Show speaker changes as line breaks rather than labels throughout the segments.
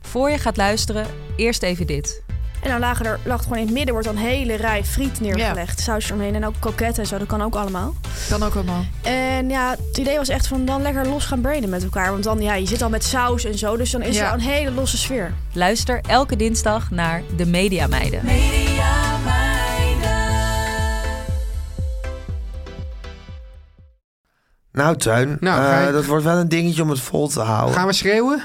Voor je gaat luisteren, eerst even dit.
En dan lagen er, lag het gewoon in het midden, wordt dan een hele rij friet neergelegd. Saus eromheen en ook kroketten en zo, dat kan ook allemaal.
Kan ook allemaal.
En ja, het idee was echt van dan lekker los gaan braden met elkaar. Want dan, ja, je zit al met saus en zo, dus dan is
Ja.
er al een hele losse sfeer.
Luister elke dinsdag naar De Media Meiden.
Nou, Tuin,
Nou, ga
eh,
je-
dat wordt wel een dingetje om het vol te houden.
Gaan we schreeuwen?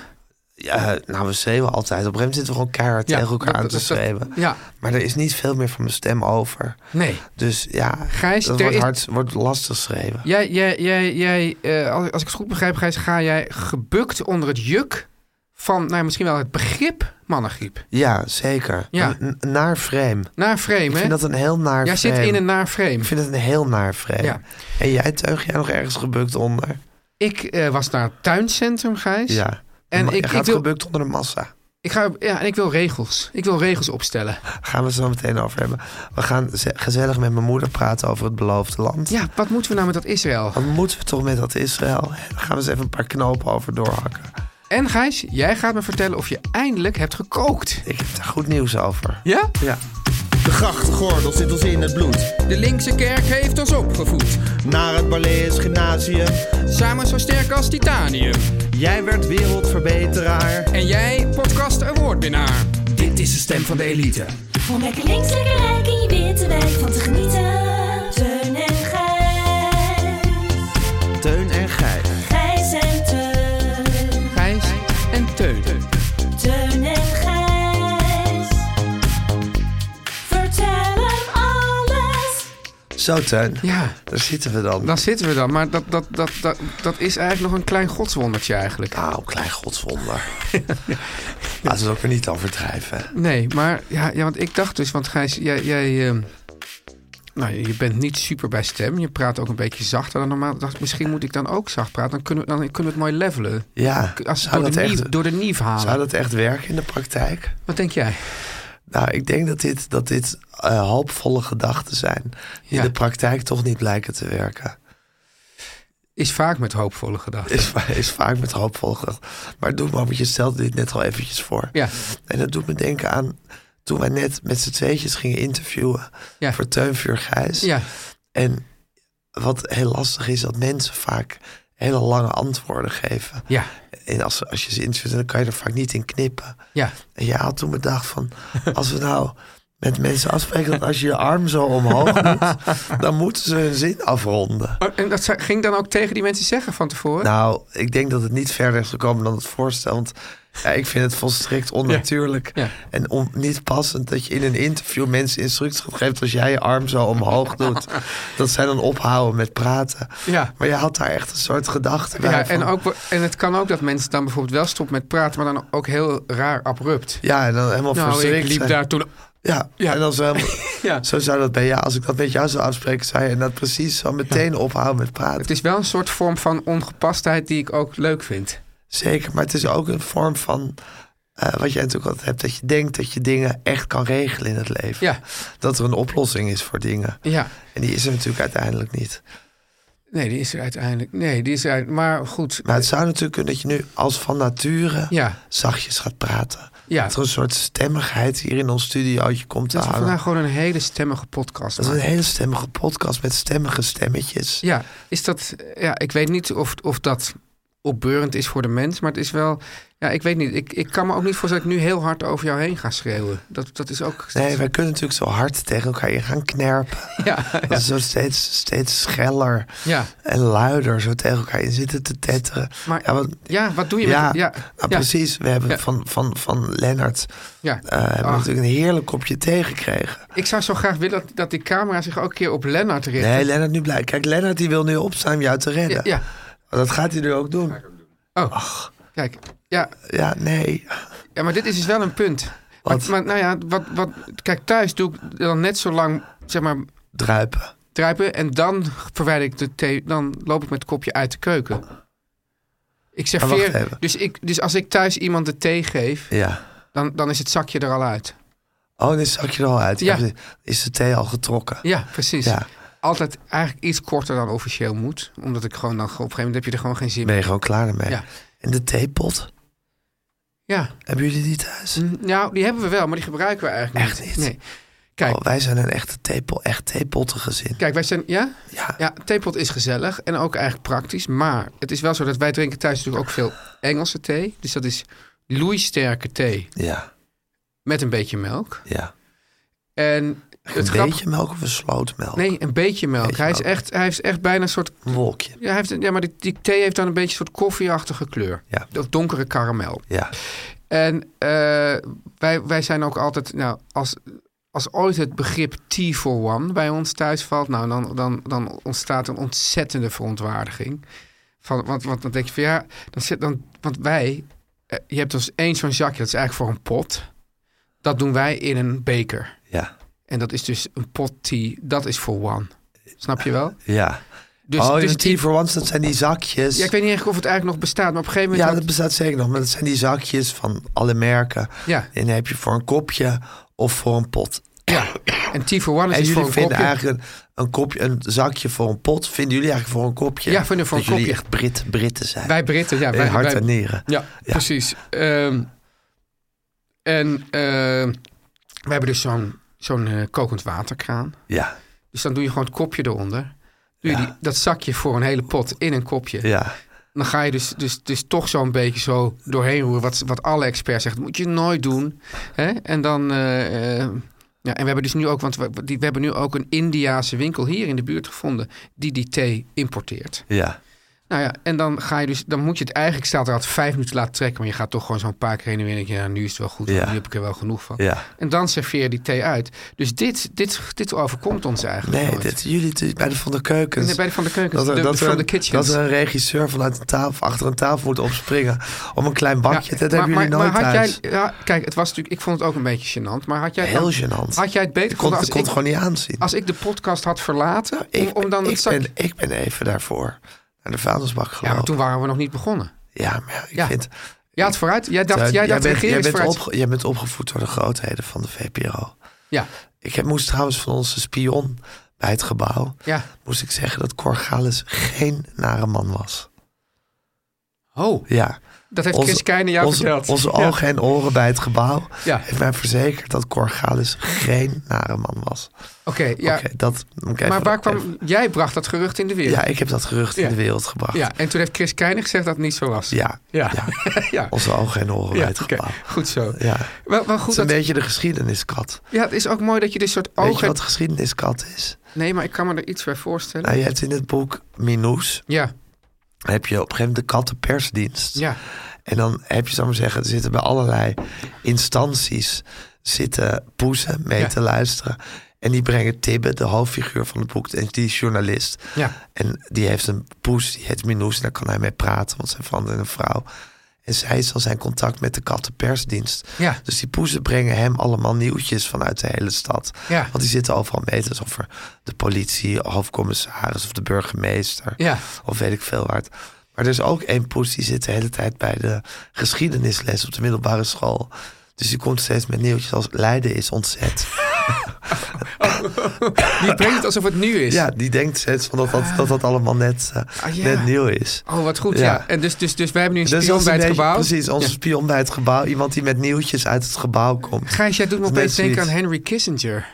Ja, nou, we schreeuwen altijd. Op een gegeven moment zitten we gewoon keihard tegen elkaar
dat-
aan
dat-
te
dat-
schreeuwen.
Ja,
Maar er is niet veel meer van mijn stem over.
nee.
Dus ja,
Gijs,
dat
er
wordt,
is-
hard, wordt lastig schreeuwen.
Jij, jij, jij, jij eh, als als ik het goed begrijp, Gijs, ga jij gebukt onder het juk van nou, ja, misschien wel het begrip mannengriep.
Ja, zeker.
Ja.
Een, een naar frame.
Naar frame,
Ik
hè?
vind dat een heel naar
jij
frame.
zit in een naar frame.
Ik vind het een heel naar frame.
Ja.
En jij, Teug, jij nog ergens gebukt onder?
Ik eh, was naar het tuincentrum, Gijs.
Ja.
En
Maar
ik,
je
ik,
gaat
wil,
gebukt onder de massa.
ik, ga, ja, en ik wil regels. Ik wil regels opstellen.
Daar gaan we het zo meteen over hebben. We gaan ze- gezellig met mijn moeder praten over het beloofde land.
Ja, wat moeten we nou met dat Israël?
Wat moeten we toch met dat Israël? Daar gaan we eens even een paar knopen over doorhakken.
En Gijs, jij gaat me vertellen of je eindelijk hebt gekookt.
Ik heb daar goed nieuws over.
Ja?
Ja.
De grachtgordel zit ons in het bloed.
De linkse kerk heeft ons opgevoed,
Naar het Balees Gymnasium.
samen zo sterk als titanium.
Jij werd wereldverbeteraar.
En jij, podcast awardwinnaar. Dit is de stem van de elite.
Om lekker links, lekker rijk in je witte wijk van te genieten. Teun en Gijs.
Teun en Gijs.
Gijs en Teun.
Gijs en Teun.
Teun en Gijs. Vertel hem alles.
Zo, Teun.
Ja,
Daar zitten we dan.
dan zitten we dan. Maar dat, dat, dat, dat, dat is eigenlijk nog een klein godswondertje eigenlijk.
Nou, klein godswonder. Laten we het ook weer niet overdrijven.
Nee, maar ja, ja, want ik dacht dus, want Gijs, jij, jij ehm, nou, je bent niet super bij stem. Je praat ook een beetje zachter dan normaal. Ik dacht, misschien moet ik dan ook zacht praten. Dan kunnen we, dan kunnen we het mooi levelen.
Ja,
Als we
zou
door,
dat,
de nief,
echt,
door de nief halen.
zou dat echt werken in de praktijk?
Wat denk jij?
Nou, ik denk dat dit, dat dit eh, hoopvolle gedachten zijn. Die
Ja.
in de praktijk toch niet blijken te werken.
Is vaak met hoopvolle gedachten.
Is, va- is vaak met hoopvolle gedachten. Maar het doet me ook, want je stelde dit net al eventjes voor.
Ja,
En dat doet me denken aan toen wij net met z'n tweetjes gingen interviewen
Ja.
voor Teunvuur Gijs.
ja,
En wat heel lastig is, dat mensen vaak hele lange antwoorden geven.
ja,
En als, als je ze interviewt, dan kan je er vaak niet in knippen.
ja.
En jij had toen bedacht van, als we nou met mensen afspreken dat als je je arm zo omhoog doet, dan moeten ze hun zin afronden.
Oh, En dat zou- ging dan ook tegen die mensen zeggen van tevoren?
Nou, ik denk dat het niet verder is gekomen dan het voorstel. Want ja, ik vind het volstrekt onnatuurlijk
Ja, ja.
en on- niet passend dat je in een interview mensen instructies gaat geven als jij je arm zo omhoog doet. dat zij dan ophouden met praten.
Ja.
Maar je had daar echt een soort gedachte bij.
ja,
van-
en, ook, en het kan ook dat mensen dan bijvoorbeeld wel stoppen met praten, maar dan ook heel raar abrupt.
Ja, en dan helemaal
Nou,
verstrikt.
ik liep
zijn.
daar toen...
Ja,
Ja.
en dan zo, helemaal-
Ja.
zo zou dat bij jou, als ik dat met jou zou afspreken, zou je inderdaad precies zo meteen ophouden met praten.
Het is wel een soort vorm van ongepastheid die ik ook leuk vind.
Zeker, maar het is ook een vorm van eh, wat jij natuurlijk altijd hebt, dat je denkt dat je dingen echt kan regelen in het leven.
Ja.
Dat er een oplossing is voor dingen.
Ja,
En die is er natuurlijk uiteindelijk niet.
nee, die is er uiteindelijk. Nee, die is er uit. Maar goed.
Maar het zou natuurlijk kunnen dat je nu als van nature
Ja,
zachtjes gaat praten.
ja.
Dat er een soort stemmigheid hier in ons studiootje komt te
Dat we
hangen.
vandaag gewoon een hele stemmige podcast
Dat is een
maken.
hele stemmige podcast met stemmige stemmetjes.
Ja, is dat. Ja, ik weet niet of, of dat opbeurend is voor de mens. Maar het is wel, ja, ik weet niet. Ik, ik kan me ook niet voorstellen dat ik nu heel hard over jou heen ga schreeuwen. Dat, dat is ook.
Nee, wij kunnen natuurlijk zo hard tegen elkaar in gaan knerpen.
Ja,
Dat is zo steeds, steeds scheller
Ja.
en luider zo tegen elkaar in zitten te tetteren.
Maar-
ja, wat,
ja, wat doe je
ja,
met ja,
nou,
ja.
precies. We hebben
Ja.
van, van, van Lennart
Ja. Ah.
eh, hebben we
Ach.
natuurlijk een heerlijk kopje thee gekregen.
Ik zou zo graag willen dat, dat die camera zich ook een keer op Lennart richt.
Nee, Lennart nu blij. Kijk, Lennart die wil nu opstaan om jou te redden.
ja, ja.
Dat gaat hij nu ook doen.
Oh, kijk. Ja,
Ja, nee.
ja, maar dit is dus wel een punt. Maar,
Wat?
maar nou ja, wat, wat, kijk, thuis doe ik dan net zo lang, zeg maar,
Druipen.
druipen. En dan verwijder ik de thee, dan loop ik met het kopje uit de keuken. Ik
Maar wacht
serveer,
even.
dus, ik, dus als ik thuis iemand de thee geef,
Ja.
dan, dan is het zakje er al uit.
Oh, dan zak je er al uit.
Ja.
Is de thee al getrokken?
Ja, precies.
Ja.
Altijd eigenlijk iets korter dan officieel moet. Omdat ik gewoon dan, op een gegeven moment heb je er gewoon geen zin
Ben
meer.
je gewoon klaar ermee?
Ja.
En de theepot?
Ja.
Hebben jullie die thuis?
Nou, die hebben we wel, maar die gebruiken we eigenlijk
Echt niet?
Nee. Kijk,
Oh, wij zijn een echte theepot, echt theepotten gezin.
Kijk, wij zijn. Ja?
Ja.
theepot is gezellig en ook eigenlijk praktisch. Maar het is wel zo dat wij drinken thuis natuurlijk ook veel Engelse thee. Dus dat is loeisterke thee
Ja,
met een beetje melk.
ja.
En
Een
het grappige.
beetje melk of een slootmelk?
Nee, een beetje melk.
Beetje
hij, is
melk.
echt, hij heeft echt bijna een soort.
Een wolkje.
Ja, hij heeft, een- ja maar die, die thee heeft dan een beetje een soort koffieachtige kleur.
Ja.
Of donkere karamel.
Ja.
En eh, wij, wij zijn ook altijd, nou, als, als ooit het begrip tea for one bij ons thuis valt, nou, dan, dan, dan ontstaat een ontzettende verontwaardiging. Van, want, want dan denk je van ja, dan zit dan, want wij, eh, je hebt dus één zo'n zakje, dat is eigenlijk voor een pot. Dat doen wij in een beker.
Ja.
En dat is dus een pot tea, dat is for one. Snap je wel?
Ja.
Dus,
oh,
dus
dus
die-
tea for ones, dat zijn die zakjes.
ja, ik weet niet echt of het eigenlijk nog bestaat, maar op een gegeven moment.
Ja,
had-
dat bestaat zeker nog. Maar dat zijn die zakjes van alle merken.
Ja. Oh,
En die heb je voor een kopje of voor een pot.
ja. En tea for one is
En
dus voor
jullie
een
vinden
kopje.
eigenlijk een, een, kopje, een zakje voor een pot, vinden jullie eigenlijk voor een kopje?
Ja, vinden we voor
dat
een
jullie
kopje.
echt Brit, Britten zijn.
Wij Britten, ja.
In
Wij,
hart
wij-
en nieren.
Ja, precies. Ehm, en ehm, we hebben dus zo'n zo'n eh, kokend waterkraan.
Ja,
Dus dan doe je gewoon het kopje eronder. Doe je
Ja.
die, dat zakje voor een hele pot in een kopje.
ja.
Dan ga je dus, dus, dus toch zo'n beetje zo doorheen roeren. Wat, wat alle experts zeggen, dat moet je nooit doen. Hè? En dan... eh, eh, ja, en we hebben dus nu ook, want we, die- we hebben nu ook een Indiaanse winkel hier in de buurt gevonden die die thee importeert.
ja.
Nou ja, en dan ga je dus, dan moet je het eigenlijk, staat er altijd vijf minuten laten trekken, maar je gaat toch gewoon zo'n paar keer heen en weer denk je, nou, nu is het wel goed, want
Ja.
nu heb ik er wel genoeg van.
Ja.
En dan serveer je die thee uit. Dus dit, dit, dit overkomt ons eigenlijk.
Nee,
nooit.
dit, jullie dit- bij de Van der Keukens.
Nee, bij de Van der Keukens,
Dat er,
de-
dat
de
er-
From the Kitchens.
dat er een regisseur vanuit een tafel, achter een tafel moet opspringen om een klein bakje.
Ja,
dat hebben jullie nooit
had
thuis.
jij, ja, kijk, het was natuurlijk, ik vond het ook een beetje gênant, maar had jij
Heel
dan-
gênant.
Had jij het beter
ik kon,
gevonden
ik
als
kon
ik,
het gewoon niet aanzien.
als ik de podcast had verlaten, om,
ik,
om dan het
ik,
zakje-
ben, ik ben even daarvoor naar de vuilnisbak
Ja, maar
gelopen.
toen waren we nog niet begonnen.
Ja, maar ja, ik
Ja.
vind...
Ja, het vooruit. Jij dacht,
Tuin,
jij dacht,
bent, jij,
regering is
bent
vooruit.
opge- jij bent opgevoed door de grootheden van de VPRO.
Ja,
Ik heb, moest trouwens van onze spion bij het gebouw...
ja.
moest ik zeggen dat Corgalis geen nare man was.
Oh,
Ja.
dat heeft Chris Keijne jou
onze,
verteld.
Onze
Ja.
ogen en oren bij het gebouw
Ja.
heeft mij verzekerd dat Corgalis geen nare man was.
Oké, ja.
Oké, dat moet ik even...
maar waar kwam,
even-
jij bracht dat gerucht in de wereld.
ja, ik heb dat gerucht
Ja.
in de wereld gebracht.
Ja, en toen heeft Chris Keijne gezegd dat het niet zo was.
Ja,
Ja.
ja.
ja.
Onze ogen en oren bij
Ja,
het
oké.
gebouw.
Goed zo.
Ja.
Wel, wel
Het is
goed
een
dat,
beetje de geschiedeniskat.
ja, het is ook mooi dat je dit soort
Weet je
ogen...
wat geschiedeniskat is?
Nee, maar ik kan me er iets bij voorstellen.
Nou, je hebt in het boek Minoes...
Ja,
heb je op een gegeven moment de kattenpersdienst.
ja,
En dan heb je, zou ik maar zeggen, er zitten bij allerlei instanties zitten poezen mee
Ja.
te luisteren. En die brengen Tibbe, de hoofdfiguur van het boek, en die is journalist.
ja.
En die heeft een poes, die heet Minoes, en daar kan hij mee praten, want zijn verandert in een vrouw. En zij is dan zijn contact met de kattenpersdienst.
Ja.
Dus die poezen brengen hem allemaal nieuwtjes vanuit de hele stad.
Ja.
Want die zitten overal mee. Dus of er de politie, hoofdcommissaris of de burgemeester.
Ja.
Of weet ik veel waar het. Maar er is ook één poes die zit de hele tijd bij de geschiedenisles op de middelbare school. Dus die komt steeds met nieuwtjes als Leiden is ontzet.
Die brengt het alsof het nu is.
Ja, die denkt steeds van dat dat, dat, dat allemaal net, eh,
Ah, ja.
net nieuw is.
Oh, wat goed, ja.
Ja.
En dus, dus, dus wij hebben nu een
Dus
spion
onze
bij het
beetje-
gebouw.
Precies, onze
Ja.
spion bij het gebouw. Iemand die met nieuwtjes uit het gebouw komt.
Gijs, jij doet me
Dat
opeens
is net
denken aan
zoiets.
Henry Kissinger.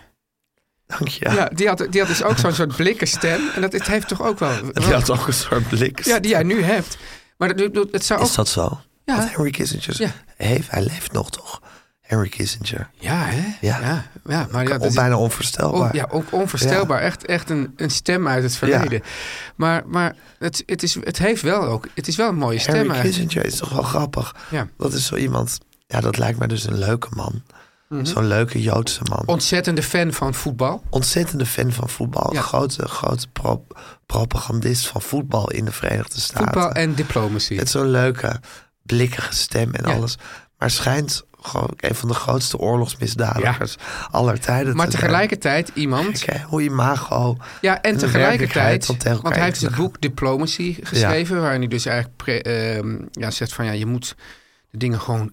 Dank je.
Ja, die, had, die had dus ook zo'n soort blikken stem. En dat het heeft toch ook wel...
Die had ook een soort blik.
Ja, die jij nu hebt. Maar het, het- het zou ook...
Is dat zo?
Ja.
Want Henry Kissinger
Ja.
heeft, hij leeft nog toch? Henry Kissinger.
Ja, hè?
Ja.
ja, ja, maar ja,
Ook
dat is-
bijna onvoorstelbaar.
On- Oh, ja, ook onvoorstelbaar. Echt, echt een, een stem uit het verleden. Maar, maar het, het, is, het heeft wel ook... Het is wel een mooie stem
Henry
eigenlijk.
Kissinger is toch wel grappig.
Ja.
Dat is zo iemand. Ja, dat lijkt mij dus een leuke man.
Mhm.
Zo'n leuke Joodse man.
Ontzettende fan van voetbal.
Ontzettende fan van voetbal.
Ja.
Grote, grote pro- propagandist van voetbal in de Verenigde Staten.
Voetbal en diplomacy.
Met zo'n leuke, blikkige stem en
Ja.
alles. Maar schijnt gewoon een van de grootste oorlogsmisdadigers aller tijden
maar
te
tegelijkertijd iemand...
zijn. Kijk, hè, hoe imago.
Ja, en
de
tegelijkertijd,
werkelijkheid van
want
tegen elkaar
hij heeft
in
het
te
boek Diplomacy geschreven, waarin hij dus eigenlijk pre- ehm, ja, zegt van ja, je moet de dingen gewoon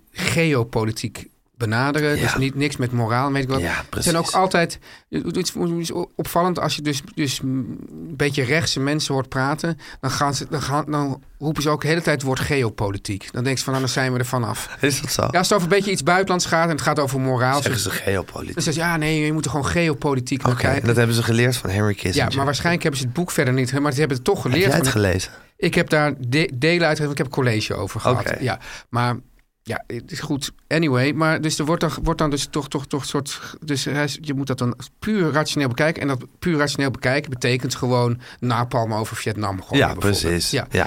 geopolitiek benaderen.
Ja.
Dus niet niks met moraal, weet ik wat.
Ja,
het
precies.
zijn ook altijd, het is- het is opvallend als je dus, dus een beetje rechtse mensen hoort praten, dan, gaan ze, dan, gaan, dan roepen ze ook de hele tijd het woord geopolitiek. Dan denk je van nou, dan zijn we er vanaf.
Is dat zo?
Ja, als het over een beetje iets buitenlands gaat en het gaat over moraal.
Zeggen ze
Dan
geopolitiek.
zeggen ze, ja, nee, je moet er gewoon geopolitiek
Oké,
naar kijken.
en dat hebben ze geleerd van Henry
Ja,
Kissinger.
maar waarschijnlijk hebben ze het boek verder niet. Maar ze hebben het toch
Heb
geleerd.
jij het
Want
gelezen?
Ik heb daar de- delen uit. want Ik heb college over gehad.
Oké.
Ja, maar ja, het is goed. Anyway, maar dus er wordt dan, wordt dan dus toch toch toch een soort. Dus hij is- je moet dat dan puur rationeel bekijken. En dat puur rationeel bekijken betekent gewoon napalm over Vietnam. gooien,
Ja,
bijvoorbeeld.
precies.
Ja.
Ja.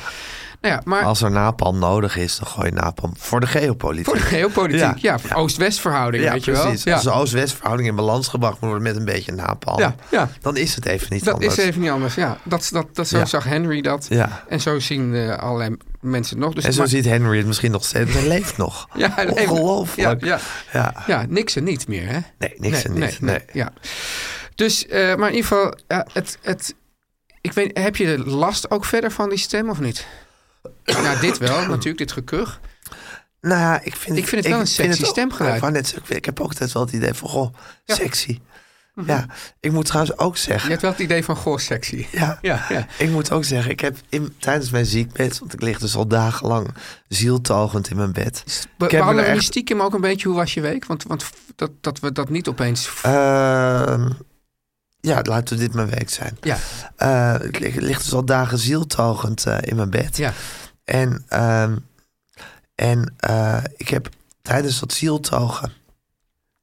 Nou ja, maar
Als er napalm nodig is, dan gooi je napalm voor de geopolitiek.
voor de geopolitiek, ja,
Ja.
voor Oost-West verhouding,
ja,
weet je
precies.
wel.
Als de Oost-West verhouding in balans gebracht moet worden met een beetje napalm,
Ja, ja.
dan is het even niet
Dat
anders.
is even niet anders. Ja, dat, dat, dat, zo
Ja.
zag Henry dat.
Ja.
En zo zien eh, allerlei mensen het nog. Dus
en zo
maar-
ziet Henry het misschien nog steeds. Hij leeft nog.
Ja, hij leeft.
Ongelooflijk.
Ja, ja.
Ja.
Ja, niks en niet meer, hè?
Nee, niks en niet. Nee.
Ja. Dus, eh, maar in ieder geval, ja, het, het, ik weet, heb je de last ook verder van die stem of niet? nou, dit wel, natuurlijk, dit gekuch.
Nou ja, ik vind,
Ik vind het wel een sexy
ook-
stemgeluid.
Ik, wou net zeggen, ik heb ook altijd wel het idee van, goh, sexy. Ja, ik moet trouwens ook
Mhm. Je
zeggen...
hebt wel het idee van goh, sexy.
Ja.
Ja, ja.
Ik moet ook zeggen, ik heb in, tijdens mijn ziekbed, want ik lig dus al dagenlang zieltogend in mijn bed.
Be
ik heb me
behandelen
er
we
echt
niet stiekem ook een beetje hoe was je week? Want, want f- dat, dat we dat niet opeens... f-
Eh, Ehm, ja, laten we dit mijn week zijn.
ja,
Eh, ik lig, lig dus al dagen zieltogend eh, in mijn bed.
ja.
En, ehm, en eh, ik heb tijdens dat zieltogen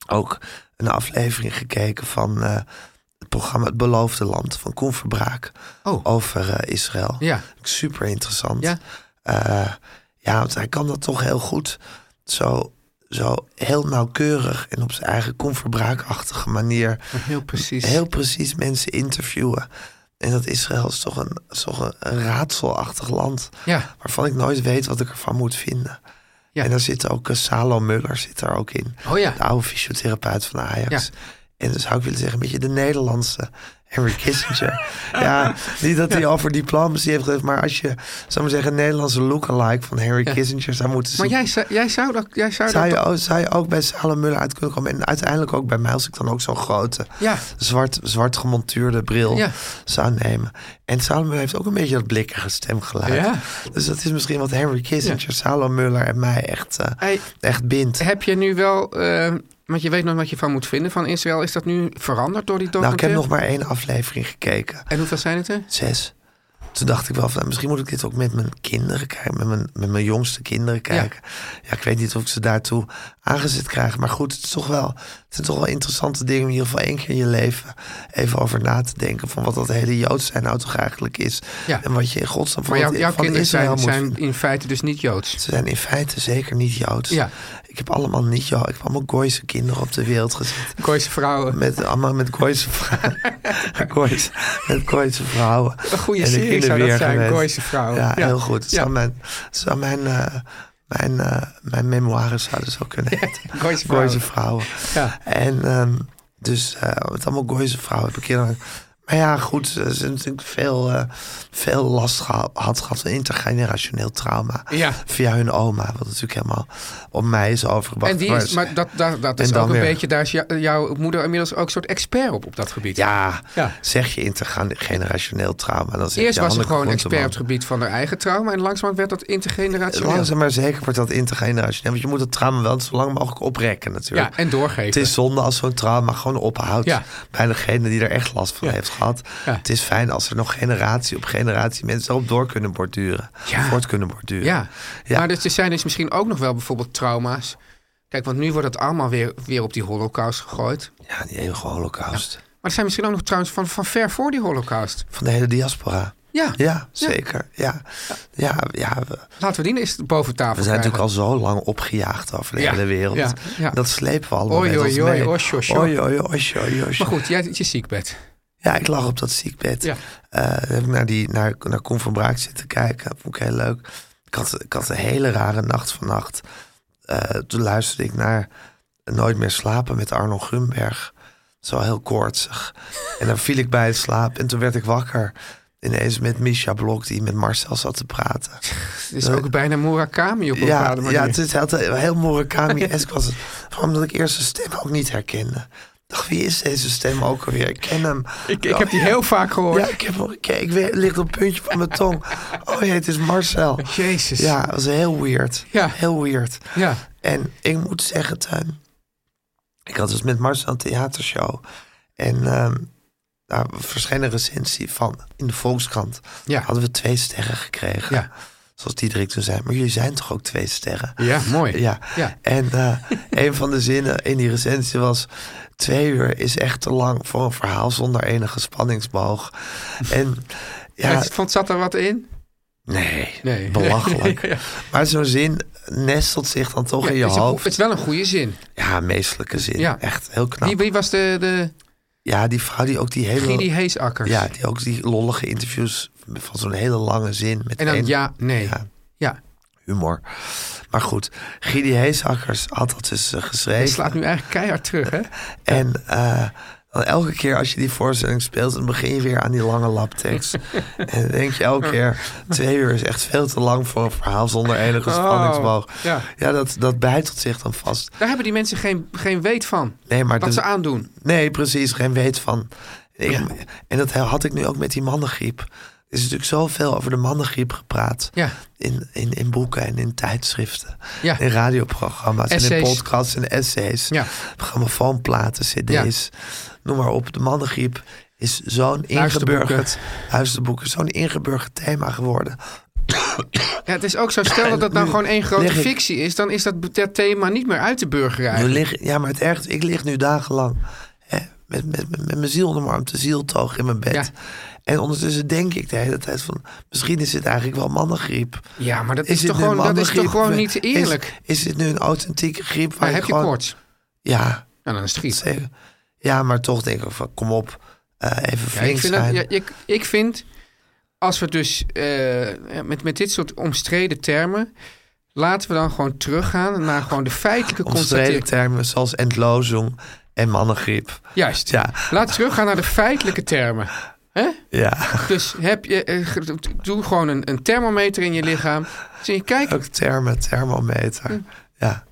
ook een aflevering gekeken van eh, het programma Het Beloofde Land van Koen Verbraak
Oh.
over eh, Israël.
Ja.
Super interessant.
Ja.
Eh, ja, want hij kan dat toch heel goed. Zo, zo heel nauwkeurig en op zijn eigen Koen Verbraak-achtige manier
Heel precies.
heel precies mensen interviewen. En dat Israël is toch een, is toch een, een raadselachtig land.
Ja.
Waarvan ik nooit weet wat ik ervan moet vinden.
Ja.
En daar zit ook eh, Salo Muller zit daar ook in.
Oh ja.
De oude fysiotherapeut van Ajax.
Ja.
En dan zou ik willen zeggen, een beetje de Nederlandse Henry Kissinger. ja, niet dat hij over diplomatie heeft gezegd, maar als je, zou maar zeggen, een Nederlandse lookalike van Henry
Ja.
Kissinger zou moeten zien.
Maar jij, zou- jij zou dat... Jij zou
Zou
dat
je, ook, zou je ook bij Salem Muller uit kunnen komen? En uiteindelijk ook bij mij, als ik dan ook zo'n grote,
Ja.
zwart, zwart gemontuurde bril
Ja.
zou nemen. En Salem Muller heeft ook een beetje dat blikkige stemgeluid.
Ja.
Dus dat is misschien wat Henry Kissinger, Salem Muller en mij echt, eh,
Hey,
echt bindt.
Heb je nu wel, eh, want je weet nog wat je van moet vinden van Israël. Is dat nu veranderd door die
Nou, ik heb
documentaire?
nog maar één aflevering gekeken.
En hoeveel zijn het er?
Zes. Toen dacht ik wel van, nou, misschien moet ik dit ook met mijn kinderen kijken. Met mijn, met mijn jongste kinderen kijken. Ja. ik weet niet of ik ze daartoe aangezet krijg. Maar goed, het, is toch wel, het zijn toch wel interessante dingen om in ieder geval één keer in je leven even over na te denken. Van wat dat hele Joods zijn nou toch eigenlijk is.
Ja.
En wat je in godsnaam van,
Maar jouw,
het-
jouw
van
kinderen
Israël
zijn,
moet
zijn
vinden.
in feite dus niet Joods.
Ze zijn in feite zeker niet Joods.
Ja.
Ik heb allemaal niet Joods. Ik heb allemaal Gooise kinderen op de wereld gezet.
Gooise vrouwen.
Met, allemaal met Gooise vrouwen. Gooise- met Gooise vrouwen.
Een goede
En ik
serie
in de
zou dat
weer
zijn,
geweest.
Gooise vrouwen.
Ja,
Ja.
heel goed. Het
Ja.
zou mijn, het zou mijn, eh, mijn, eh, mijn memoires zouden zo kunnen heten.
Gooise vrouwen.
Gooise vrouwen.
Ja.
En ehm, dus eh, met allemaal Gooise vrouwen heb ik kinderen. Maar ja, goed, ze hebben natuurlijk veel, eh, veel last geha- had gehad van intergenerationeel trauma.
Ja.
Via hun oma, wat natuurlijk helemaal op mij is overgebracht.
En die is, maar dat, dat, dat is
En dan
ook een
weer.
beetje, daar is jou- jouw moeder inmiddels ook een soort expert op, op dat gebied.
Ja,
Ja.
zeg je intergenerationeel trauma. Dan
Eerst
zeg je
was ze
Hanneke
gewoon
Groenteman.
expert op het gebied van haar eigen trauma en langzaam werd dat intergenerationeel.
Langzaam maar zeker wordt dat intergenerationeel. Want je moet het trauma wel zo lang mogelijk oprekken natuurlijk.
Ja, en doorgeven.
Het is zonde als zo'n trauma gewoon ophoudt
Ja.
bij degene die er echt last van heeft gehad. Het is fijn als er nog generatie op generatie mensen op door kunnen borduren. Voort kunnen borduren.
Ja. maar dus er zijn dus misschien ook nog wel bijvoorbeeld trauma's. Kijk, want nu wordt het allemaal weer, weer op die holocaust gegooid.
Ja, die eeuwige holocaust.
Maar er zijn misschien ook nog trouwens van, van ver voor die holocaust.
Van de hele diaspora.
Ja.
Ja, zeker. Ja. Ja, ja, we,
Laten we die eens boven tafel
we zijn
krijgen.
natuurlijk al zo lang opgejaagd over de
Ja,
hele wereld.
ja, ja.
Dat slepen we allemaal
Oei,
met
oei,
ons
oei,
mee.
osjo, osjo.
Oei, oei, osjo, oei, osjo.
Maar goed, jij zit je ziekbed.
Ja, ik lag op dat ziekbed.
Ja.
Eh, heb ik naar, die, naar, naar Koen van Braak zitten kijken. Dat vond ik heel leuk. Ik had, ik had een hele rare nacht vannacht. Eh, toen luisterde ik naar Nooit meer slapen met Arno Grunberg. Zo heel koortsig. En dan viel ik bij het slaap en toen werd ik wakker. Ineens met Misha Blok, die met Marcel zat te praten. Eh,
Het is ook bijna Murakami op een
Ja,
bepaalde manier.
ja het is heel, heel Murakami-esk was het. Vooral omdat ik eerst de stem ook niet herkende. Ik dacht, wie is deze stem ook alweer? Ik ken hem.
Ik, ik heb die heel vaak gehoord.
Ja, ik heb hem gekeken. Het ligt op het puntje van mijn tong. Oh jee, het is Marcel.
Jezus.
Ja, dat was heel weird.
Ja.
Heel weird.
Ja.
En ik moet zeggen, Tuin. Ik had dus met Marcel een theatershow. En ehm nou, verscheen een recensie van in de Volkskrant.
Ja.
Hadden we twee sterren gekregen.
Ja.
Zoals Diederik toen zei. Maar jullie zijn toch ook twee sterren?
Ja, mooi.
Ja.
Ja.
En eh, een van de zinnen in die recensie was... twee uur is echt te lang voor een verhaal zonder enige spanningsboog. En ja,
Het- Vond, zat er wat in?
nee,
Nee.
belachelijk.
Ja.
Maar zo'n zin nestelt zich dan toch
Ja,
in je
het, is een-
hoofd.
het is wel een goede zin.
Ja, meestelijke zin.
Ja.
Echt heel knap.
Wie, wie was de, de
Ja, die vrouw die ook die hele...
Gidi Heesakkers?
Ja, die ook die lollige interviews van zo'n hele lange zin. Met
En dan
één-
ja, nee.
Ja,
Ja.
humor. Maar goed, Gidi Heesakkers had dat dus eh,
Hij
geschreven.
slaat nu eigenlijk keihard terug, hè?
En eh, dan elke keer als je die voorstelling speelt, dan begin je weer aan die lange labtekst. en dan denk je elke keer, twee uur is echt veel te lang voor een verhaal zonder enige spanningsboog.
ja.
dat, dat bijtelt zich dan vast.
Daar hebben die mensen geen, geen weet van.
Nee, maar
wat
de-
ze aandoen.
Nee, precies, geen weet van. Ik- En dat had ik nu ook met die mannengriep. Er is natuurlijk zoveel over de mannengriep gepraat.
Ja.
In, in, in boeken en in tijdschriften.
Ja.
In radioprogramma's en in
Essays.
podcasts en essays.
Ja.
Grammofoonplaten, cd's. Noem maar op. De mannengriep is zo'n
Luisterboeken.
ingeburgerd... Luisterboeken. Zo'n ingeburgerd thema geworden.
Ja, het is ook zo, stel dat dat nou
Nu
gewoon één grote
leg ik-
fictie is... dan is dat, dat thema niet meer uit de burgerij.
Nu lig, ja, maar het ergste, ik lig nu dagenlang hè, met, met, met, met mijn ziel onder mijn arm, te zieltoog in mijn bed.
Ja.
En ondertussen denk ik de hele tijd van, misschien is het eigenlijk wel mannengriep.
Ja, maar dat is,
dit
toch
nu
gewoon, dat is
mannengriep?
toch gewoon
Of,
niet eerlijk?
Is, is dit nu een authentieke griep? Waar
maar heb je
gewoon-
koorts?
Ja,
Ja, dan is het griep.
zeker. Ja, maar toch denk ik van, kom op, eh, even
Ja, ik,
flink
vind
zijn.
dat- ja, ik, ik vind, als we dus eh, met, met dit soort omstreden termen... laten we dan gewoon teruggaan naar gewoon de feitelijke
Omstreden
constatering.
termen zoals entlozing en mannengriep.
Juist.
Ja.
Laten we teruggaan naar de feitelijke termen. hè?
Ja,
Dus heb je, eh, ge- doe gewoon een, een thermometer in je lichaam. Zie je, kijk,
ook termen, thermometer. Ja.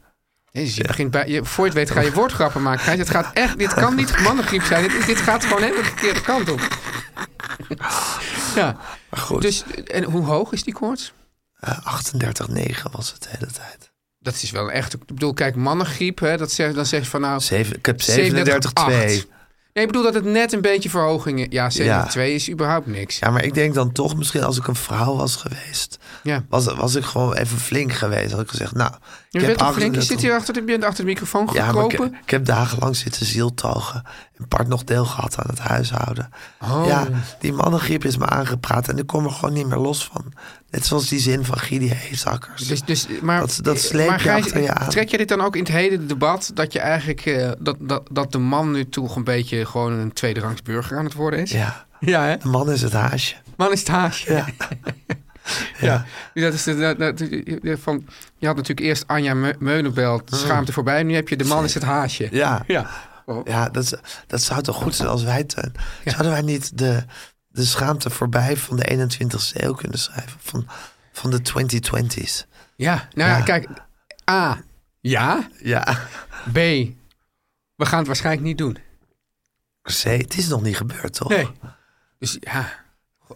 Jezus, je begint bij, je, voor je het weet ga je woordgrappen maken. Gijs. Het gaat echt, dit kan niet mannengriep zijn. Dit, is- dit gaat gewoon helemaal de verkeerde kant op. Ja,
Maar goed, dus,
dus en hoe hoog is die koorts?
38,9 Eh, was het de hele tijd.
Dat is wel echt, ik bedoel, kijk, mannengriep, hè, dat zeg, dan zeg je van nou...
Zeven, ik heb
37,8.
37,2.
Nee, ik bedoel dat het net een beetje verhoging is. Ja, 72 is überhaupt niks.
Ja, maar ik denk dan toch, misschien als ik een vrouw was geweest,
Ja.
was, was ik gewoon even flink geweest. Had ik gezegd, nou, ik
Je
heb
bent toch flink, je
38
zit hier achter de, je bent achter de microfoon
Ja, maar ik,
gekropen.
ik heb dagenlang zitten zieltogen. En part nog deel gehad aan het huishouden.
Oh.
Ja, die mannengriep is me aangepraat en ik kom er gewoon niet meer los van. Net zoals die zin van Gidi Heesakkers.
Dus, dus, maar,
Dat- dat sleep
maar
je
Gijs,
achter je aan.
Trek je dit dan ook in het hele debat dat je eigenlijk eh, dat, dat, dat de man nu toch een beetje gewoon een tweederangs burger aan het worden is?
Ja,
Ja, hè?
de man is het haasje.
Man is het haasje.
Ja.
Ja. Dus Dat is de, dat- dat- de- van, je had natuurlijk eerst Anja Me- Meunenbelt,
Mm.
schaamte voorbij. Nu heb je de man is het haasje.
Ja.
Ja.
Ja, dat, is- dat zou toch goed zijn als wij, Teun. Zouden wij niet de, de schaamte voorbij van de 21ste eeuw kunnen schrijven? Van, van de 2020s.
Ja, nou ja,
Ja.
kijk. A. Ja.
Ja.
B. We gaan het waarschijnlijk niet doen.
C, het is nog niet gebeurd, toch?
Nee. Dus ja.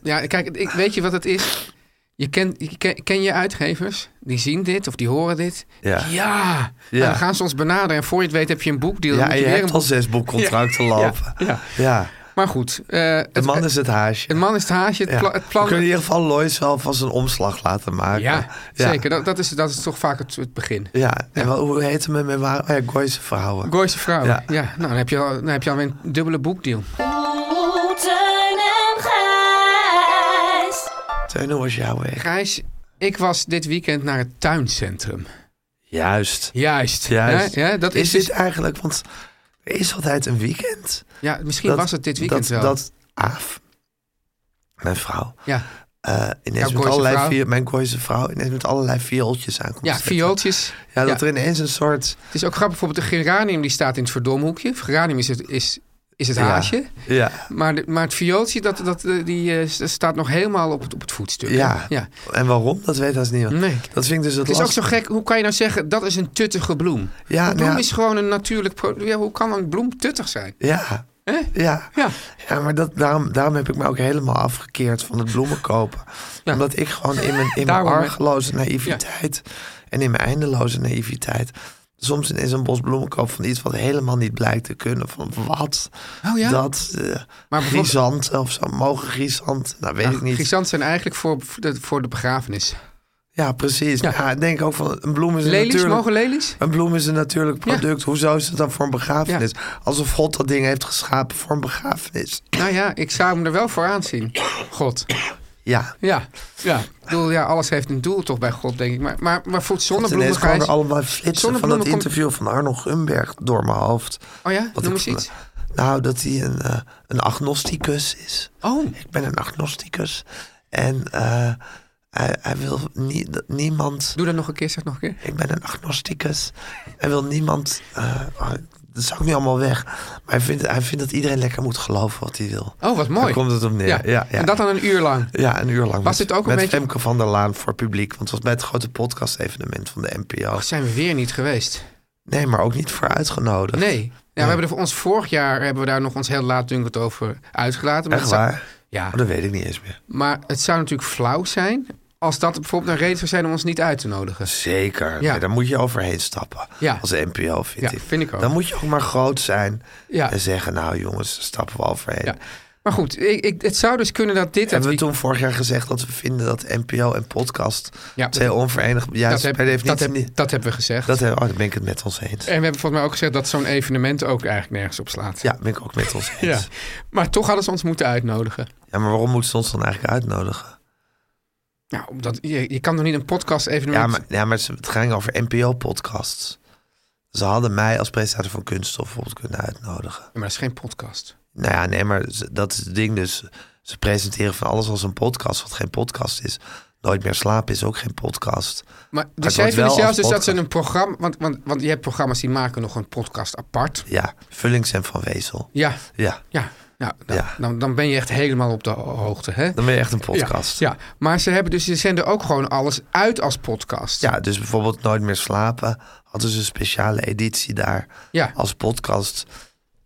Ja, kijk, ik, weet je wat het is? Je ken, je ken, ken je uitgevers, die zien dit of die horen dit.
Ja.
Ja. En dan gaan ze ons benaderen en voor je het weet heb je een boekdeal. dan
Ja,
moet
en je
weer
hebt
een
al zes boekcontracten
Ja,
lopen.
ja.
ja.
boek- Maar goed.
de man is het haasje.
De man is het haasje. Het,
Ja.
pla- het
We
plan...
kunnen in ieder geval Lois wel van zijn omslag laten maken.
Ja, zeker. Dat, dat, is, dat is toch vaak het, het begin.
Ja, en wel, hoe heet hem met mijn waar? Oh ja, Gooise vrouwen.
Gooise vrouwen. Ja.
Ja.
nou dan heb, je al, dan heb je alweer een dubbele boekdeal.
Oeh, Teun en Gijs.
Teun, hoe was jouw weg?
Gijs, ik was dit weekend naar het tuincentrum.
Juist.
Juist.
Juist.
Ja, ja, dat is,
is dit
dus-
eigenlijk, want er is altijd een weekend.
ja, misschien was het dit weekend
dat,
wel.
Dat Aaf, mijn vrouw,
ja.
eh, ineens
Jouw
met
Gooise
allerlei
vrouw.
vier, mijn Gooise vrouw, ineens met allerlei viooltjes aankomt.
ja,
zetten.
viooltjes.
Ja, dat
Ja.
er ineens een soort...
Het is ook grappig, bijvoorbeeld de geranium die staat in het verdomhoekje. Geranium is het, is, is het
Ja.
haasje.
Ja.
Maar, de- maar het viooltje, dat, dat, eh, die eh, s- staat nog helemaal op het, op het voetstuk. hè?
Ja.
ja.
En waarom? Dat weet als niemand.
Nee.
Dat vind ik dus het,
Het is ook zo
lastige.
gek, hoe kan je nou zeggen, dat is een tuttige bloem?
Ja,
een bloem
nou ja.
is gewoon een natuurlijk product. Ja, hoe kan een bloem tuttig zijn?
Ja. Ja.
Ja.
ja, maar dat, daarom, daarom heb ik me ook helemaal afgekeerd van het bloemen kopen.
Ja.
Omdat ik gewoon in mijn, in mijn
Daarom, hè?
argeloze naïviteit en in mijn eindeloze naïviteit... soms ineens een bos bloemen koop van iets wat helemaal niet blijkt te kunnen. Van wat?
Oh ja?
Dat? eh,
bijvoorbeeld-
Chrysanten of zo? Mogen chrysanten? Nou, weet ik niet.
Chrysanten zijn eigenlijk voor, voor de, voor de begrafenis.
Ja, precies. Ja. ik denk ook van een bloem is een
Lelies,
natuurlijk...
mogen lelies?
Een bloem is een natuurlijk product. Hoezo is het dan voor een begrafenis? Alsof God dat ding heeft geschapen voor een begrafenis.
Nou ja, ik zou hem er wel voor aanzien. God.
Ja.
Ja, ja. Ik bedoel, ja, alles heeft een doel toch bij God, denk ik. Maar, maar, maar voor
Want
zonnebloemen,
ineens kwamen er
Gijs-
allemaal flitsen van dat
zonnebloemen komt-
interview van Arno Gumberg door mijn hoofd.
Oh ja?
Wat
Noem
ik
eens
van-
iets.
Nou, dat hij een, eh, een agnosticus is.
Oh.
Ik ben een agnosticus. En eh, hij, hij wil nie- dat niemand...
Doe dat nog een keer, zeg nog een keer.
Ik ben een agnosticus. Hij wil niemand... eh, oh, dat zou ik nu allemaal weg. Maar hij vindt, hij vindt dat iedereen lekker moet geloven wat hij wil.
Oh, wat mooi.
Daar komt het op neer. Ja, ja,
En dat dan een uur lang.
Ja, een uur lang.
Was
met,
dit ook een
met
beetje-
Femke van der Laan voor publiek. Want het was bij het grote podcast-evenement van de NPO.
Zijn we weer niet geweest?
Nee, maar ook niet voor uitgenodigd.
Nee. Ja, we hebben er voor ons vorig jaar hebben we daar nog ons heel laatdunkend over uitgelaten. maar
Echt
het zou-
waar?
Ja,
Oh, dat weet ik niet eens meer.
maar het zou natuurlijk flauw zijn als dat bijvoorbeeld een reden zou zijn om ons niet uit te nodigen.
Zeker.
Ja.
Nee, daar moet je overheen stappen.
Ja.
Als NPO, vind
Ja,
ik.
vind ik ook.
Dan moet je ook maar groot zijn.
Ja.
En zeggen, nou jongens, daar stappen we overheen.
Ja. Maar goed, ik, ik, het zou dus kunnen dat dit... het
Hebben we
week-
toen vorig jaar gezegd dat we vinden dat NPO en podcast
Ja.
twee onverenigd... Ja,
dat, heb-
per
dat,
definitie
heb-
niet-
dat hebben we gezegd.
Dat heb, oh, daar ben ik het met ons eens.
En we hebben volgens mij ook gezegd dat zo'n evenement ook eigenlijk nergens op slaat.
Ja, ben ik ook met ons eens.
Ja. Maar toch hadden ze ons moeten uitnodigen.
Ja, maar waarom moeten ze ons dan eigenlijk uitnodigen?
Nou, omdat, je, je kan toch niet een podcast evenement...
Ja, maar, ja, maar ze- het ging over NPO-podcasts. Ze hadden mij als presentator van Kunststof bijvoorbeeld kunnen uitnodigen.
maar dat is geen podcast.
Nou ja, nee, maar ze- dat is het ding dus. Ze presenteren van alles als een podcast, wat geen podcast is. Nooit meer slapen is ook geen podcast.
Maar
het
dus zij
wordt
vinden
wel
zelfs
als
dus dat ze
podcast.
een programma... Want, want, want je hebt programma's die maken nog een podcast apart.
Ja, Vullings en Van Wezel.
Ja,
Ja,
ja. Nou, dan,
Ja.
Dan, dan ben je echt helemaal op de ho- hoogte, hè?
dan ben je echt een podcast.
Ja, ja, maar ze, hebben dus, ze zenden ook gewoon alles uit als podcast.
Ja, dus bijvoorbeeld Nooit meer slapen hadden ze een speciale editie daar
Ja.
als podcast.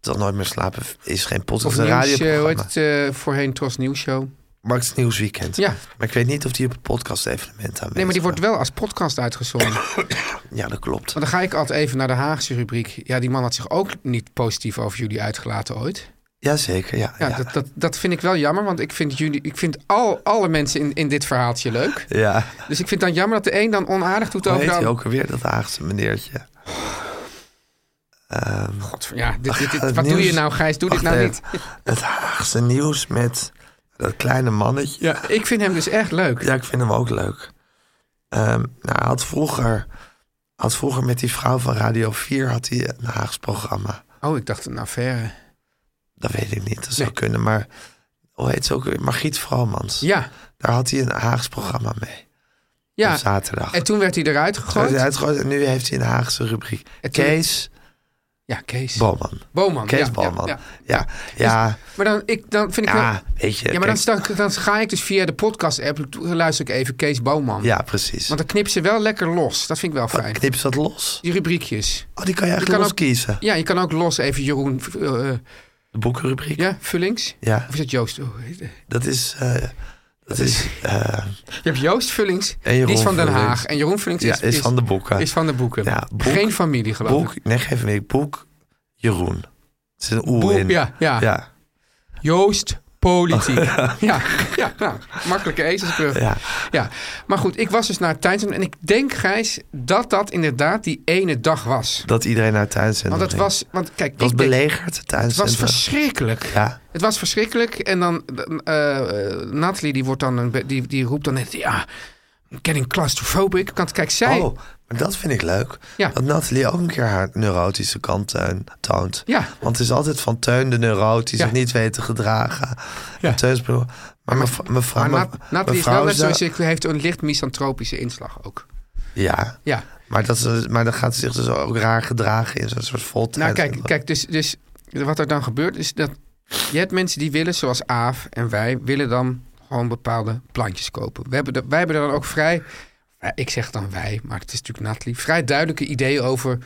Dat Nooit meer slapen is geen podcast,
Of
een
nieuws, eh, hoe heet
radioprogramma.
het eh, voorheen, Tros Nieuws Show.
Max Nieuwsweekend.
Ja.
Maar ik weet niet of die op het podcast-evenement aanwezig
Nee, maar die wordt
was.
wel als podcast uitgezonden.
Ja, dat klopt.
Want dan ga ik altijd even naar de Haagse rubriek. Ja, die man had zich ook niet positief over jullie uitgelaten ooit.
Jazeker, ja.
Ja, Dat, dat, dat vind ik wel jammer, want ik vind, jullie, ik vind al, alle mensen in, in dit verhaaltje leuk.
Ja.
Dus ik vind dan jammer dat de een dan onaardig doet
Hoe
over
heet
de
hij
ander.
ook alweer, dat Haagse meneertje? Ehm,
God, ja, dit, dit, dit-
het
wat doe
nieuws-
je nou, Gijs? Doe dit
Wacht
nou niet.
even. Het Haagse nieuws met dat kleine mannetje.
Ja, ik vind hem dus echt leuk.
Ja, ik vind hem ook leuk. Ehm, nou, hij had vroeger, had vroeger met die vrouw van Radio 4 had hij een Haags programma.
Oh, ik dacht een affaire.
Dat weet ik niet, dat zou
Nee.
kunnen. Maar hoe heet ze ook weer? Margriet Vromans.
Ja,
Daar had hij een Haags programma mee.
ja.
Op zaterdag.
En toen werd hij eruit
Toen werd hij
gegooid.
uitgegooid en nu heeft hij een Haagse rubriek.
En toen-
Kees
Ja, Kees.
Boman.
Boman.
Kees
ja, ja,
Boman. Ja,
ja.
ja,
Maar dan, ik, dan vind ik wel-
ja, weet je.
Ja, maar dan,
kijk,
sta- dan ga ik dus via de podcast-app, luister ik even Kees Boman.
Ja, precies.
Want dan knip ze wel lekker los. Dat vind ik wel
Wat
fijn.
knip ze dat los?
Die rubriekjes.
Oh, die kan je
Je
eigenlijk
kan
los
ook-
kiezen.
Ja, je kan ook los even Jeroen... eh, eh,
De boekenrubriek.
ja, Vullings?
Ja.
Of is dat Joost? Oh, heet- eh,
Dat is... eh, dat is... eh,
je hebt Joost Vullings,
En Jeroen
die is van Den
Vullings.
Haag. En Jeroen Vullings
Ja,
is,
is van de boeken.
Is van de boeken.
Ja, boek-
Geen familie, geloof ik.
boek... Nee, geef me Boek Jeroen. Het is een oe
Boek,
in.
ja, ja.
ja.
Joost Politiek. ja, ja nou, makkelijke ezelsbrug.
Ja.
Ja, maar goed, ik was dus naar het tuincentrum. En ik denk, Gijs, dat dat inderdaad die ene dag was.
Dat iedereen naar het tuincentrum
Want het
ging.
was, want kijk,
Het was
ik denk-
belegerd, het
Het was
tuincentrum.
verschrikkelijk.
Ja.
Het was verschrikkelijk. En dan, eh eh, Nathalie, die, wordt dan een be- die, die roept dan net, ja, I'm getting claustrophobic. Want kijk, zij...
Oh, maar dat vind ik leuk.
Ja.
Dat Nathalie ook een keer haar neurotische kant teun- toont.
Ja.
Want het is altijd van Teun de neuroot die
Ja.
zich niet weet te gedragen.
Ja.
En Teun is bedoel- maar mevrouw, mevrouw,
maar Nat- Nathalie is wel
mevrouw
net
is
zoals
daar-
ik, heeft een licht misantropische inslag ook.
Ja,
Ja.
maar, dat is, maar dan gaat ze zich dus ook raar gedragen in zo'n soort voltijd.
Nou, kijk, kijk dus, dus wat er dan gebeurt is dat je hebt mensen die willen, zoals Aaf en wij, willen dan gewoon bepaalde plantjes kopen. We hebben de- wij hebben er dan ook vrij, ja, ik zeg dan wij, maar het is natuurlijk Nathalie, vrij duidelijke ideeën over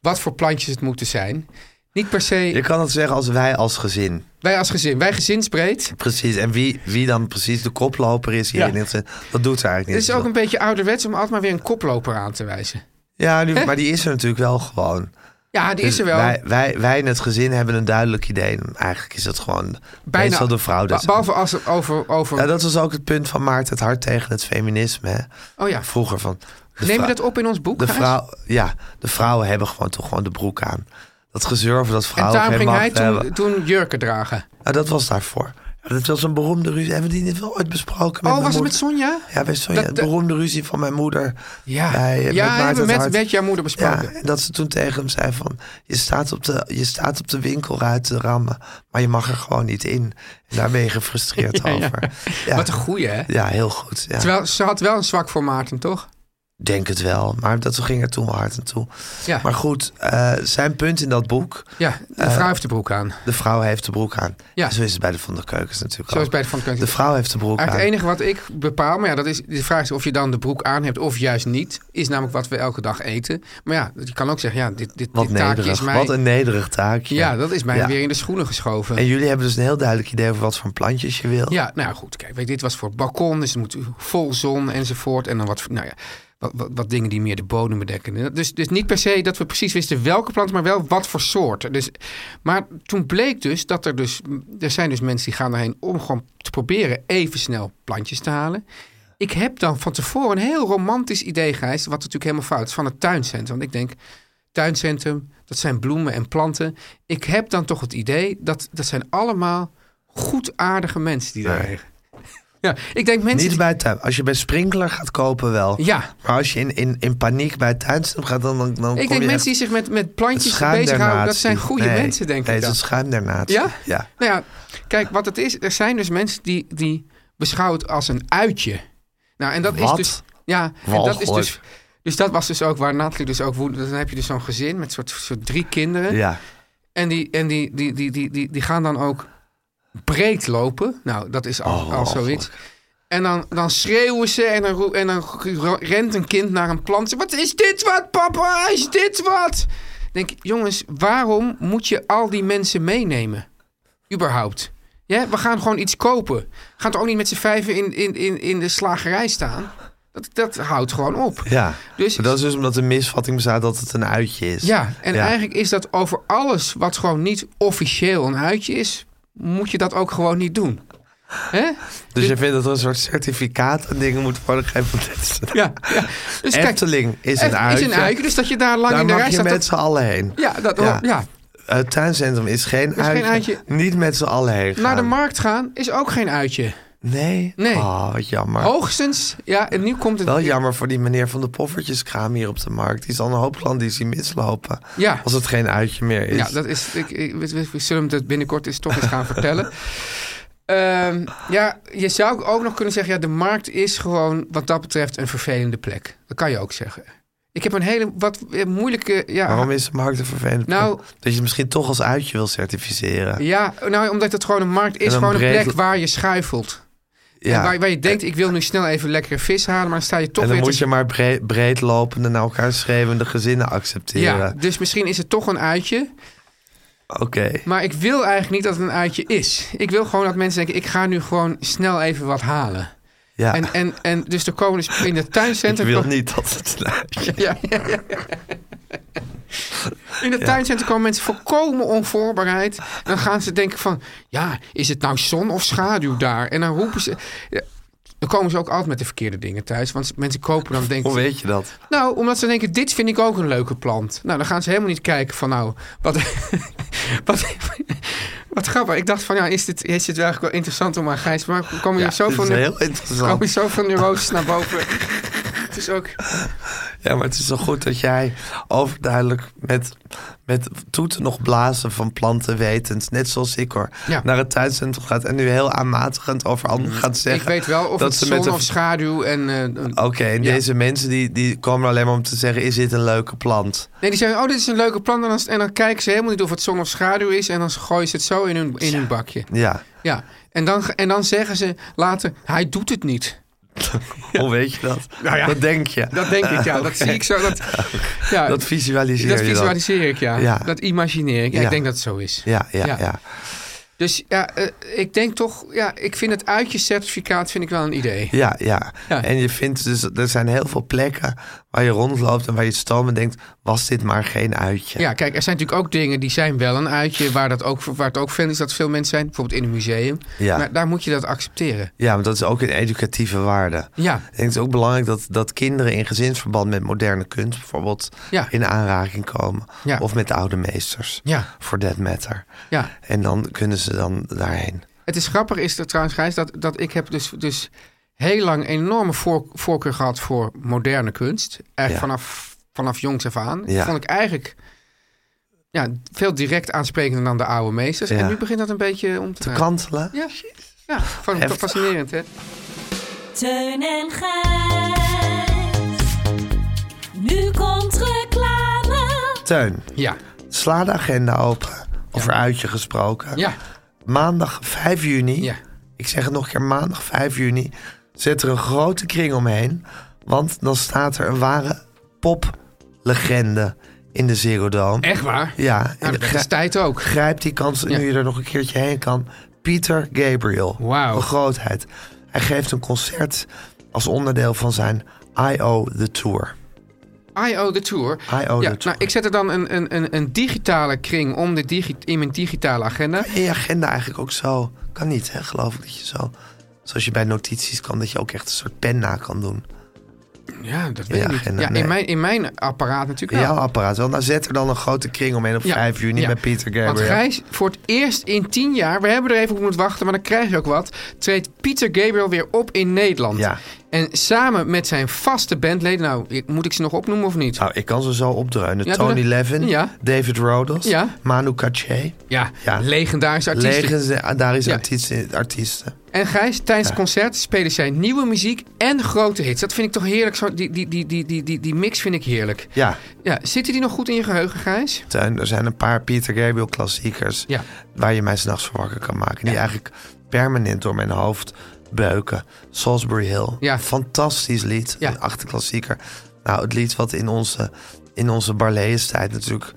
wat voor plantjes het moeten zijn. Niet per
Je
se
kan het zeggen als wij als gezin.
wij als gezin, wij gezinsbreed.
Precies. En wie, wie dan precies de koploper is hier
Ja.
in dit gezin, dat doet ze eigenlijk
Het is
niet.
ook een beetje ouderwets om altijd maar weer een koploper aan te wijzen.
Ja, nu-
Hè?
maar die is er natuurlijk wel gewoon.
Ja, Ah, die
Dus
is er wel.
Wij, wij, wij in het gezin hebben een duidelijk idee. Eigenlijk is dat gewoon
Bijna.
meestal de vrouw.
Ba-
Dus.
Behalve als het over... over
Ja, dat was ook het punt van Maarten het hart tegen het feminisme. Hè?
oh ja,
Vroeger van... de
neem je
vrou-
dat op in ons boek,
de
Gijs?
vrouw, Ja, de vrouwen hebben gewoon toch gewoon de broek aan. Dat gezeur over dat
En
vrouwen
daarom
geen
ging hij
macht
toen,
hebben.
toen jurken dragen.
Nou, dat was daarvoor. Ja, Dat was een beroemde ruzie. Hebben we die niet wel ooit besproken?
oh,
Met mijn
was het met
moeder?
Sonja?
Ja, bij Sonja.
Dat-
de beroemde ruzie van mijn moeder.
Ja,
bij,
ja
eh, met
hebben
Maarten
we
het
met,
Hart.
met jouw moeder besproken.
Ja, en dat ze toen tegen hem zei van... Je staat, op de, je staat op de winkelruit te rammen, maar je mag er gewoon niet in. En daar ben je gefrustreerd
Ja, ja.
over. Ja.
Wat een goeie, hè?
Ja, heel goed. Ja.
Terwijl ze had wel een zwak voor Maarten, toch?
Denk het wel, maar dat ging er toen wel hard aan toe.
Ja,
Maar goed, eh, zijn punt in dat boek...
ja de
Eh,
vrouw heeft de broek aan.
De vrouw heeft de broek aan.
Ja.
Zo is het bij de Van der Keukens natuurlijk
Zoals
ook.
bij de Van der Keukens.
De vrouw heeft de broek aan.
Eigenlijk het enige wat ik bepaal, maar ja, dat is, de vraag is of je dan de broek aan hebt of juist niet. Is namelijk wat we elke dag eten. Maar ja, je kan ook zeggen, ja, dit, dit,
Wat
dit taakje is
nederig.
mij...
Wat een nederig taakje.
ja, dat is mij
Ja.
weer in de schoenen geschoven.
En jullie hebben dus een heel duidelijk idee over wat voor plantjes je wil.
Ja, nou ja, goed. Kijk, weet, je, dit was voor het balkon, dus het moet vol zon enzovoort. En dan wat, nou ja, wat, wat, wat dingen die meer de bodem bedekken. En dat- Dus, dus niet per se dat we precies wisten welke plant, maar wel wat voor soorten. Dus, maar toen bleek dus dat er dus... Er zijn dus mensen die gaan erheen om gewoon te proberen even snel plantjes te halen. Ik heb dan van tevoren een heel romantisch idee, Gijs, wat natuurlijk helemaal fout is, van het tuincentrum. Want ik denk, tuincentrum, dat zijn bloemen en planten. Ik heb dan toch het idee dat dat zijn allemaal goedaardige mensen die daar
Nee.
liggen. Ja, ik denk mensen...
Niet bij het tuin. Als je bij Sprinkler gaat kopen wel.
die- ja,
Maar als je in, in, in paniek bij het tuinstem gaat, dan, dan, dan
ik
kom
denk
je
mensen
echt
die zich met, met
het
plantjes
schuim der
bezighouden, dat
natie.
zijn goede
Nee,
mensen, denk
nee,
ik
het
dan.
is het schuim der natie.
Ja?
Ja.
Nou ja, kijk, wat het is, er zijn dus mensen die, die beschouwen het als een uitje. Nou, en dat
Wat?
is dus. Ja, en dat is
Walgelijk.
dus. Dus dat was dus ook waar Nathalie dus ook woedde. Dan heb je dus zo'n gezin met soort, soort drie kinderen.
Ja.
En, die, en die, die, die, die, die, die gaan dan ook breed lopen. Nou, dat is al,
Oh,
al zoiets. En dan, dan schreeuwen ze en dan, roe- en dan ro- rent een kind naar een plant. Wat is dit wat, papa? Is dit wat? Ik denk, jongens, waarom moet je al die mensen meenemen? Überhaupt. Ja, we gaan gewoon iets kopen. We gaan toch ook niet met z'n vijven in, in, in, in de slagerij staan? Dat, dat houdt gewoon op.
Ja.
Dus-
Maar dat is dus omdat de misvatting bestaat dat het een uitje is.
Ja, en
Ja.
eigenlijk is dat over alles wat gewoon niet officieel een uitje is, moet je dat ook gewoon niet doen. Hè?
Dus je vindt dat er een soort certificaat en dingen moet worden gegeven. van dit is een-
Ja, ja. Dus kijk,
Efteling is
Eft-
een uitje.
Is een uitje, dus dat je daar lang
Daar
in de
mag
rij
je
staat.
met
dat-
z'n allen heen.
ja, dat, ja.
Het tuincentrum is geen,
geen
uitje.
uitje.
Niet met z'n allen heen gaan.
naar de markt gaan is ook geen uitje.
Nee?
Nee.
Oh, wat jammer.
Hoogstens, ja, en nu komt het.
Wel jammer voor die meneer van de poffertjeskraam hier op de markt. Die zal een hoop klanten zien mislopen.
Ja.
Als het geen uitje meer is.
Ja, dat is. Ik, ik, we, we- we zullen hem dat binnenkort eens toch eens gaan vertellen. Ehm, ja, je zou ook nog kunnen zeggen: ja, de markt is gewoon wat dat betreft een vervelende plek. Dat kan je ook zeggen. Ik heb een hele wat eh, moeilijke. Ja,
Waarom is de markt een vervelend?
Nou-
punt? dat je het misschien toch als uitje wil certificeren.
Ja, nou, omdat het gewoon een markt is,
dan
gewoon een
breekt-
plek waar je schuifelt. En waar, waar je denkt, ik wil nu snel even lekkere vis halen, maar dan sta je toch
en dan
weer
moet
te-
je maar breed, breedlopende, naar elkaar schreeuwende gezinnen
Ja,
accepteren.
dus misschien is het toch een uitje.
Oké.
Maar ik wil eigenlijk niet dat het een uitje is. Ik wil gewoon dat mensen denken, ik ga nu gewoon snel even wat halen.
Ja.
En, en, en dus er komen dus in het
ik
tuincentrum...
wil niet dat het een uitje
Ja, ja, ja. In het tuincentrum komen mensen volkomen onvoorbereid. En dan gaan ze denken van, ja, is het nou zon of schaduw daar? En dan roepen ze... Ja, dan komen ze ook altijd met de verkeerde dingen thuis. Want mensen kopen dan denken...
Hoe weet je dat?
Nou, omdat ze denken, dit vind ik ook een leuke plant. Nou, dan gaan ze helemaal niet kijken van, nou, wat... wat wat grappig. Ik dacht van, ja, is dit, is dit eigenlijk wel interessant om aan Gijs... Maar komen
Ja,
hier zoveel...
dit is
neu-
heel interessant.
Komen hier zoveel neuroses naar boven. Het is ook...
Ja, maar het is zo goed dat jij overduidelijk met, met toeten nog blazen van planten wetend, net zoals ik hoor,
Ja. Mm,
naar het tuincentrum gaat en nu heel aanmatigend over anderen gaat zeggen.
Ik weet wel of
dat
het
ze
zon
met Oh. een-
of schaduw en... eh, een-
Oké, en
Ja.
deze mensen die, die komen er alleen maar om te zeggen, is dit een leuke plant?
Nee, die zeggen, oh, dit is een leuke plant. En dan, en dan kijken ze helemaal niet of het zon of schaduw is. En dan gooien ze het zo in hun, in hun bakje.
Ja,
Ja. En dan, en dan zeggen ze later, hij doet het niet.
hoe weet je dat?
Nou ja.
Dat denk je.
Dat denk ik, ja.
Oké.
Dat zie ik zo. Dat, ja,
Dat visualiseer
dat
je dan.
visualiseer ik, ja.
Ja.
Dat imagineer ik. Ja,
Ja.
Ik denk dat het zo is.
Ja, ja, ja.
Ja. Dus ja, eh, ik denk toch... Ja, ik vind het uitjescertificaat vind ik wel een idee.
Ja, ja.
Ja.
En je vindt dus, er zijn heel veel plekken waar je rondloopt en waar je stomen denkt, was dit maar geen uitje?
Ja, kijk, er zijn natuurlijk ook dingen die zijn wel een uitje. Waar, dat ook, waar het ook veel is dat veel mensen zijn. Bijvoorbeeld in een museum.
Ja.
Maar daar moet je dat accepteren.
Ja, maar dat is ook een educatieve waarde.
Ja.
Ik denk het is ook belangrijk dat, dat kinderen in gezinsverband met moderne kunst bijvoorbeeld
Ja.
in aanraking komen.
Ja.
Of met oude meesters.
Ja.
Voor that matter.
Ja.
En dan kunnen ze dan daarheen.
Het is grappig is dat trouwens, Gijs, dat, dat ik heb dus, dus heel lang enorme voor, voorkeur gehad voor moderne kunst. Eigenlijk
Ja.
vanaf, vanaf jongs af aan.
Ja.
Vond ik eigenlijk ja, veel direct aansprekender dan de oude meesters.
Ja.
En nu begint dat een beetje om te,
Te
draaien.
kantelen.
Ja, ja vond ik toch
Heftig.
fascinerend, hè?
Teun en Gijs. Nu komt reclame.
Teun,
Ja,
sla de agenda open. Over uitje gesproken.
ja,
Maandag 5 juni.
ja.
Ik zeg het nog een keer, maandag 5 juni. Zet er een grote kring omheen. Want dan staat er een ware poplegende in de Zero Dome.
Echt waar?
Ja, en
Nou, dat
grij-
is tijd ook.
Grijp die kans nu
Ja.
je er nog een keertje heen kan. Pieter Gabriel.
Wauw.
Een grootheid. Hij geeft een concert als onderdeel van zijn I.O. The Tour.
I.O. The oh, Tour.
I.O.
ja,
The oh, Tour.
Nou, ik zet er dan een, een, een, een digitale kring om de digi in mijn digitale agenda.
In je agenda eigenlijk ook zo. Kan niet, hè? geloof ik, dat je zo... Zoals je bij notities kan, dat je ook echt een soort pen na kan doen.
Ja, dat
Ja,
weet ik niet.
agenda,
ja,
nee.
in, mijn, in mijn apparaat natuurlijk
In
wel.
jouw apparaat wel. Nou, zet er dan een grote kring omheen op
Ja,
5 juni
ja.
met Pieter Gabriel.
Want Gijs, voor het eerst in tien jaar, we hebben er even op moeten wachten, maar dan krijg je ook wat, treedt Pieter Gabriel weer op in Nederland.
Ja.
En samen met zijn vaste bandleden, nou, ik- moet ik ze nog opnoemen of niet?
Nou, ik kan ze zo opdreunen.
Ja, doe
Tony
dat.
Levin,
Ja.
David Rodos,
Ja.
Manu Katché. eh,
ja,
ja.
legendarische artiesten.
Legendarische
Ja.
artiesten. artiesten.
En Gijs, tijdens het concert spelen zij nieuwe muziek en grote hits. Dat vind ik toch heerlijk, zo, die, die, die, die, die, die, die mix vind ik heerlijk.
Ja,
Ja, zitten die nog goed in je geheugen, Gijs?
Tuin, er zijn een paar Pieter Gabriel klassiekers
Ja.
waar je mij s'nachts voor wakker kan maken. Die
Ja.
eigenlijk permanent door mijn hoofd beuken. Salisbury Hill,
Ja.
fantastisch lied,
Ja.
een achterklassieker. Nou, het lied wat in onze, in onze Barlees-tijd natuurlijk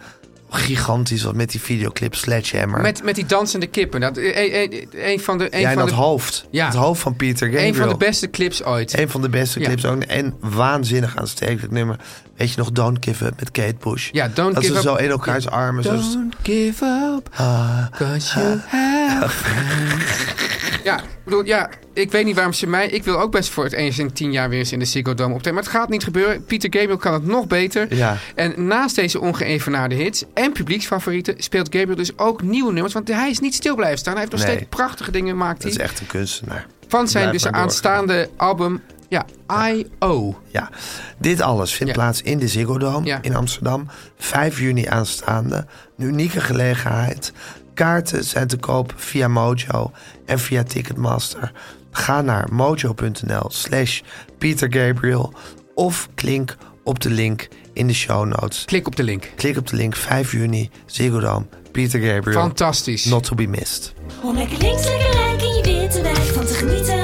gigantisch was met die videoclip Sledgehammer.
Met, met die dansende kippen. Dat, eh, eh, eh, een van de, een
ja, en
van
dat
de,
hoofd.
Ja.
Het hoofd van Pieter Gabriel.
een van de beste clips ooit.
Een van de beste
Ja.
clips ook. En waanzinnig aanstekelijk nummer. Weet je nog Don't Give Up met Kate Bush?
Ja, Don't
dat
Give
ze
Up.
zo in elkaars armen... Zo,
Don't give up,
Ah.
cause you have... ja, ik bedoel, ja, ik weet niet waarom ze mij... Ik wil ook best voor het eens in tien jaar weer eens in de Ziggo Dome optreden. Maar het gaat niet gebeuren. Pieter Gabriel kan het nog beter.
Ja.
En naast deze ongeëvenaarde hits en publieksfavorieten... speelt Gabriel dus ook nieuwe nummers. Want hij is niet stil blijven staan. Hij heeft nog
Nee.
steeds prachtige dingen gemaakt.
Dat is
hij.
echt een kunstenaar.
Van zijn
Blijf
dus
maar doorgaan.
aanstaande album... Ja, I.O.
Ja, dit alles vindt
Ja.
plaats in de Ziggo Dome
Ja.
in Amsterdam. 5 juni aanstaande. Een unieke gelegenheid. Kaarten zijn te koop via Mojo en via Ticketmaster. Ga naar mojo.nl slash Pieter Gabriel of klik op de link in de show notes.
Klik op de link.
Klik op de link 5 juni, Ziggo Dome, Pieter Gabriel.
Fantastisch.
Not to be missed.
Om lekker links, lekker rijk in je witte wijk van te genieten.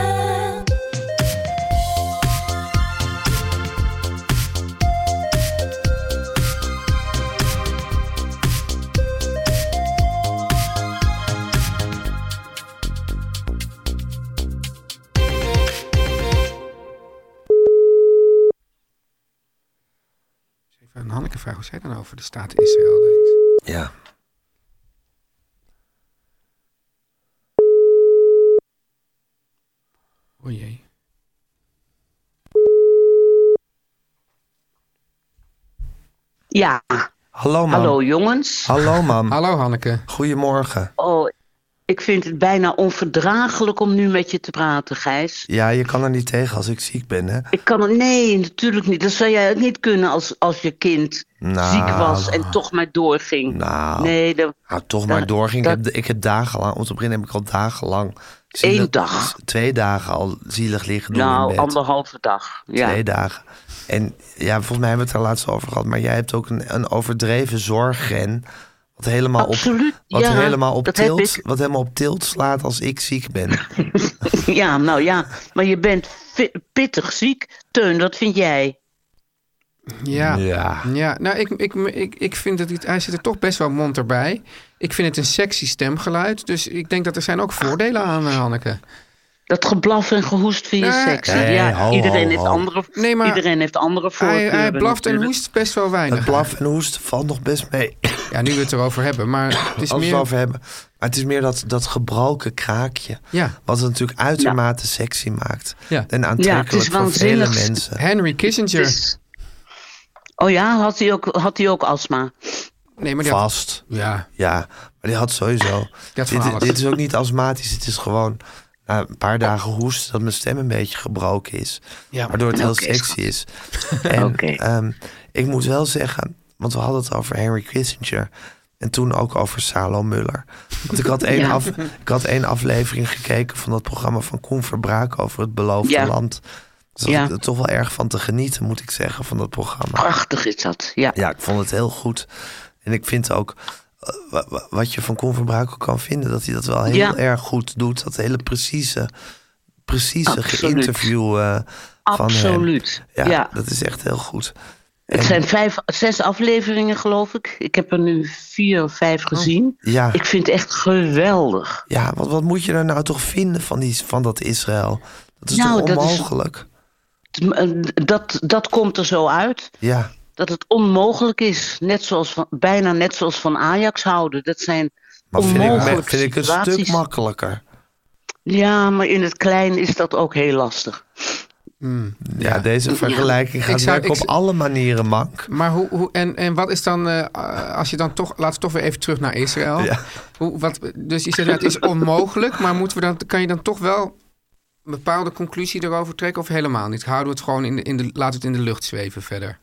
Even een hand persoonlijke vraag. Hoe zij dan over de staat Israël denkt.
Ja.
O jee.
Ja.
Hallo, mam.
Hallo jongens.
Hallo, mam.
Hallo, Hanneke.
Goedemorgen.
Oh, ik vind het bijna onverdraaglijk om nu met je te praten, Gijs.
Ja, je kan er niet tegen als ik ziek ben, hè?
Ik kan het, nee, natuurlijk niet. Dat zou jij ook niet kunnen als, als je kind
Nou.
ziek was en toch maar doorging.
Nou.
nee, dat,
Nou, toch maar
dat-
doorging.
dat-
Ik, heb, ik heb dagenlang, om te beginnen heb ik al dagenlang...
Eén dag.
Twee dagen al zielig liggen doen in
nou,
bed.
anderhalve dag. Ja.
Twee dagen. En ja, volgens mij hebben we het er laatst over gehad. Maar jij hebt ook een, een overdreven zorgren. Wat helemaal
Absoluut,
op, wat
ja,
helemaal op
dat heb
tilt,
ik.
wat helemaal op tilt slaat als ik ziek ben.
ja, nou ja, maar je bent fi- pittig ziek. Teun, dat vind jij.
Ja.
Ja.
Ja, nou, ik, ik, ik, ik vind dat hij, hij zit er toch best wel mond erbij. Ik vind het een sexy stemgeluid. Dus ik denk dat er zijn ook voordelen aan, eh, Hanneke. Nou, eh,
Dat geblaf en gehoest vind je
Nee.
sexy.
Nee,
ja,
ho,
iedereen,
ho,
heeft
ho.
Andere,
Nee, maar
iedereen heeft andere
Hij,
voorkeuren.
hij blaft en
natuurlijk.
hoest best wel
Het
weinig.
blaf en hoest valt nog best mee.
Ja, nu we het erover hebben. Maar het is
Als we
meer...
het over hebben. Maar het is meer dat, dat gebroken kraakje.
Ja.
Wat het natuurlijk uitermate sexy maakt.
Ja.
En aantrekkelijk voor vele
waanzinnig.
mensen.
Henry
Het
Kissinger.
is- Oh ja, had hij ook, had hij ook astma?
Nee, maar die had-
Vast.
Ja,
Ja, maar die had sowieso.
had van
dit,
alles.
dit is ook niet astmatisch. Het is gewoon na een paar dagen hoesten dat mijn stem een beetje gebroken is.
Ja.
Waardoor het heel
Oké,
sexy
schat.
is. En
Oké.
ehm, ik moet wel zeggen, want we hadden het over Henry Kissinger. En toen ook over Salo Muller. Want ik had, één
Ja.
af, ik had één aflevering gekeken van dat programma van Koen Verbraak over het beloofde
Ja.
land. Dus dat
Ja.
ik er toch wel erg van te genieten, moet ik zeggen, van dat programma.
Prachtig is dat, ja.
Ja, ik vond het heel goed. En ik vind ook eh, wa- wa- wat je van Koen van Brakel kan vinden, dat hij dat wel heel
Ja.
erg goed doet. Dat hele precieze, precieze
Absoluut.
interview eh, van hem.
Absoluut,
Ja,
ja.
dat is echt heel goed.
Het zijn vijf, zes afleveringen, geloof ik. Ik heb er nu vier of vijf gezien.
Ja,
Ik vind het echt geweldig.
ja want wat moet je er nou toch vinden van, die, van dat Israël? Dat is
Nou,
toch
dat is-
onmogelijk?
eh, Dat, dat komt er zo uit
Ja,
dat het onmogelijk is. Net zoals van, bijna net zoals van Ajax houden. Dat zijn
maar vind ik,
onmogelijke
vind ik een
situaties.
stuk makkelijker.
Ja, maar in het klein is dat ook heel lastig.
Ja, deze vergelijking gaat
zou-
werken
ik-
op alle manieren mank.
Maar hoe, hoe en, en wat is dan, eh, als je dan toch, laten we toch weer even terug naar Israël.
Ja.
Hoe, wat, dus je zegt, ja, het is onmogelijk, maar moeten we dan, kan je dan toch wel een bepaalde conclusie erover trekken of helemaal niet? Houden we het gewoon in de, in de, laten we het in de lucht zweven verder?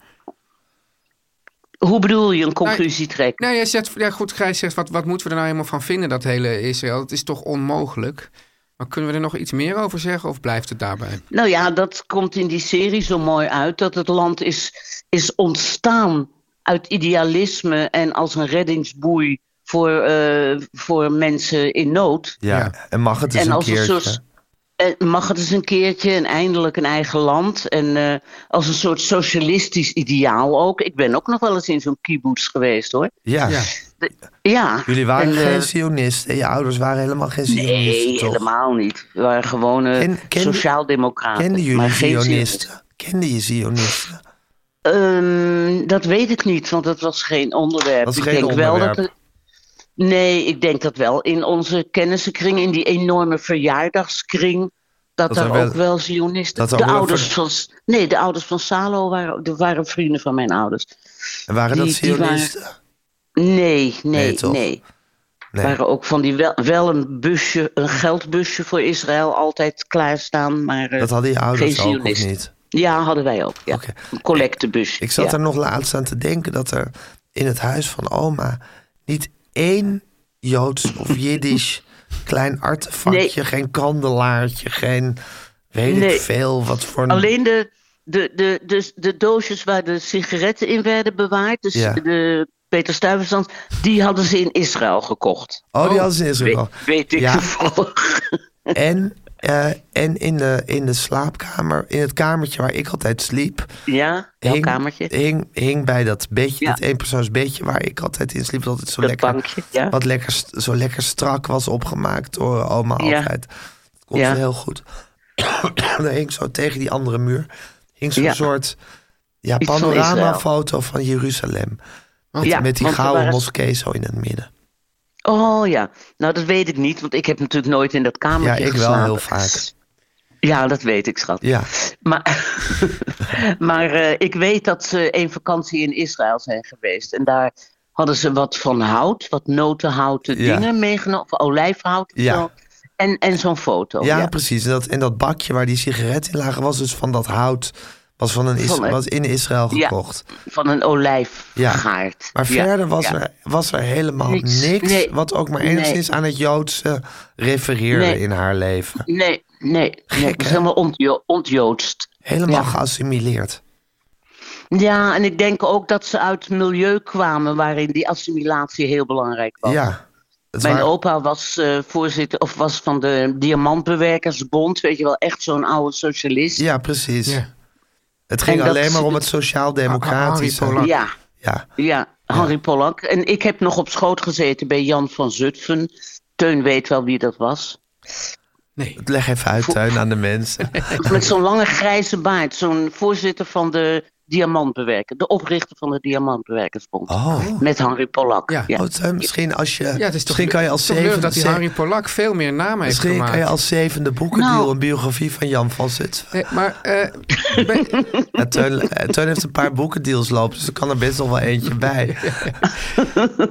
Hoe bedoel je een conclusie trekken?
Nou, jij zegt, ja goed, Gijs zegt, wat, wat moeten we er nou helemaal van vinden, dat hele Israël? Het is toch onmogelijk? Maar kunnen we er nog iets meer over zeggen of blijft het daarbij?
Nou ja, dat komt in die serie zo mooi uit. Dat het land is, is ontstaan uit idealisme en als een reddingsboei voor, eh, voor mensen Eh, in nood.
Ja.
Ja.
en mag het dus
en
een
als een
keertje.
soort. eh, Mag het eens een keertje en eindelijk een eigen land. En eh, als een soort socialistisch ideaal ook. Ik ben ook nog wel eens in zo'n kibbutz geweest hoor.
Ja.
Ja.
De- ja.
Jullie waren
En, eh,
geen Zionisten. Je ouders waren helemaal geen Zionisten,
Nee,
toch?
helemaal niet. We waren gewone
Ken- ken-
sociaaldemocraten.
Kenden jullie
maar geen
Zionisten? Kenden je Zionisten?
Ehm, dat weet ik niet, want dat was geen onderwerp.
Dat is
ik
geen
denk wel
onderwerp.
dat. er- nee, ik denk dat wel in onze kennissenkring, in die enorme verjaardagskring, dat,
Dat er
daar
wel-
ook wel Zionisten.
dat er
De
ook wel
ouders,
ver-
van, S- nee, de ouders van Salo waren, de- waren vrienden van mijn ouders.
En waren dat
Die- die waren-
Zionisten?
Nee, nee,
Nee,
nee.
toch? Nee.
Waren ook van die wel, wel een busje, een geldbusje voor Israël altijd klaarstaan, maar eh,
Dat hadden je ouders
geen
ook, of
Zionisten.
niet?
Ja, hadden wij ook. Ja.
Oké.
Een collectebusje.
Ik zat
ja.
er nog laatst aan te denken dat er in het huis van oma niet één Joods of Jiddisch klein artefactje,
Nee.
geen kandelaartje, geen weet
Nee.
ik veel, wat voor...
Alleen de, de, de, de, de doosjes waar de sigaretten in werden bewaard, dus
Ja.
de Peter Stuyvesant, die hadden ze in Israël gekocht.
Oh, die hadden ze in Israël.
Weet, weet ik
Ja.
toevallig.
En, eh, en in, de, in de slaapkamer, in het kamertje waar ik altijd sliep,
Ja, jouw kamertje.
Hing, hing bij dat bedje,
Ja.
dat eenpersoonsbedje waar ik altijd in sliep. Dat het zo
Dat
lekker,
bankje, ja.
wat lekker, st- zo lekker strak was opgemaakt door oma
Ja.
altijd. Dat kon
Ja.
ze heel goed. Daar hing zo tegen die andere muur, hing zo'n
Ja.
soort
Ja,
Iets van Israël.
panoramafoto van Jeruzalem. Met,
Ja,
met die
want er
gouden
waren-
moskee zo in het midden.
Oh ja, nou dat weet ik niet, want ik heb natuurlijk nooit in dat
Ja,
kamertje
ik wel
geslapen.
heel vaak.
Ja, dat weet ik, schat.
Ja.
Maar, maar eh, ik weet dat ze een vakantie in Israël zijn geweest. En daar hadden ze wat van hout, wat notenhouten
Ja.
dingen meegenomen, of olijfhout of
Ja.
zo. En, en zo'n foto.
Ja, precies. En dat, en dat bakje waar die sigaretten in lagen was dus van dat hout. Was, van een is,
Van het-
was in Israël
Ja,
gekocht.
van een olijfgaard.
Maar
Ja,
verder was,
ja.
er, was er helemaal niks.
Niks. Nee.
Wat ook maar
Nee.
enigszins aan het Joodse refereerde
Nee.
in haar leven.
Nee, nee, nee. Het is helemaal ontjo- ontjoodst.
Helemaal
Ja.
geassimileerd.
Ja, en ik denk ook dat ze uit een milieu kwamen waarin die assimilatie heel belangrijk was.
Ja. Het
Mijn
waren-
opa was eh, voorzitter of was van de Diamantbewerkersbond, weet je wel, echt zo'n oude socialist.
Ja, precies. Het ging
En dat-
alleen maar om het sociaal-democratische.
Ja,
ja.
ja, Harry Pollack. En ik heb nog op schoot gezeten bij Jan van Zutphen. Teun weet wel wie dat was.
Het Leg even uit, tuin aan de mensen.
Met zo'n lange grijze baard, zo'n voorzitter van de Diamantbewerker, de oprichter van de Diamantbewerkersbond.
Oh.
Met Harry Pollack. Ja.
Oh, Tuin, misschien als je.
Ja, het is toch,
misschien kan je als
het is toch leuk
zevende.
dat die
ze-
Harry Polak veel meer naam heeft
Misschien
gemaakt.
kan je als zevende boekendeal
Nou.
een biografie van Jan van Zutphen.
Nee, maar eh, ben-
Ja, Teun, eh, Teun heeft een paar boekendeals lopen, dus er kan er best nog wel eentje bij.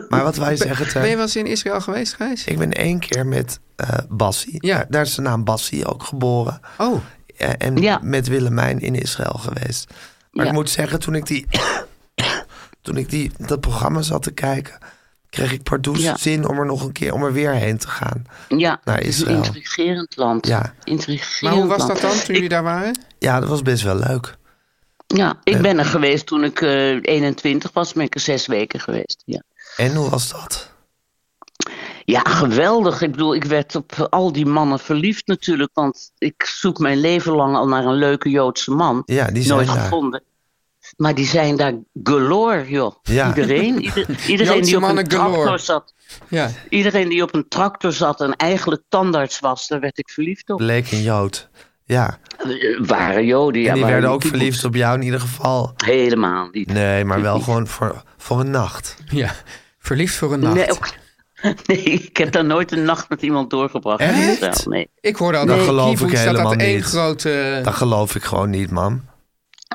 Maar wat wou je zeggen,
ben je
Teun?
wel eens in Israël geweest, Gijs?
Ik ben één keer met eh Bassie, daar, daar is de naam Bassie ook geboren.
Oh.
Eh, en met Willemijn in Israël geweest. Maar
Ja.
ik moet zeggen, toen ik, die, toen ik die, dat programma zat te kijken... kreeg ik pardoes
Ja.
zin om er nog een keer om er weer heen te gaan.
Ja,
Naar
het is een
Nou, Israël.
intrigerend land.
Ja.
Intrigerend
Maar hoe was
land.
dat dan toen jullie daar waren?
Ja, dat was best wel leuk.
Ja, ik ben er geweest toen ik eh, 21 was, ben ik er zes weken geweest. Ja.
En hoe was dat?
ja, geweldig. Ik bedoel, ik werd op al die mannen verliefd natuurlijk, want ik zoek mijn leven lang al naar een leuke Joodse man.
Ja, die zijn
Nooit
daar.
gevonden. Maar die zijn daar galore, joh.
Ja.
Iedereen. ieder- iedereen
Joodse
die op
mannen
een
galore.
tractor zat.
Ja.
Iedereen die op een tractor zat en eigenlijk tandarts was, daar werd ik verliefd op.
Bleek een Jood. Ja.
Eh, Waren Joden, ja.
en die
waren
werden ook
kibbutz.
verliefd op jou in ieder geval.
Helemaal niet.
Nee, maar wel gewoon voor, voor een nacht.
Ja, verliefd voor een nacht.
Nee, ook- nee, ik heb daar nooit een nacht met iemand doorgebracht. in
Echt?
Israël, Nee.
Ik hoorde al
Dat
dat
geloof ik
Kibbutz, dat
helemaal
dat één
niet.
grote...
Dat geloof ik gewoon niet, man.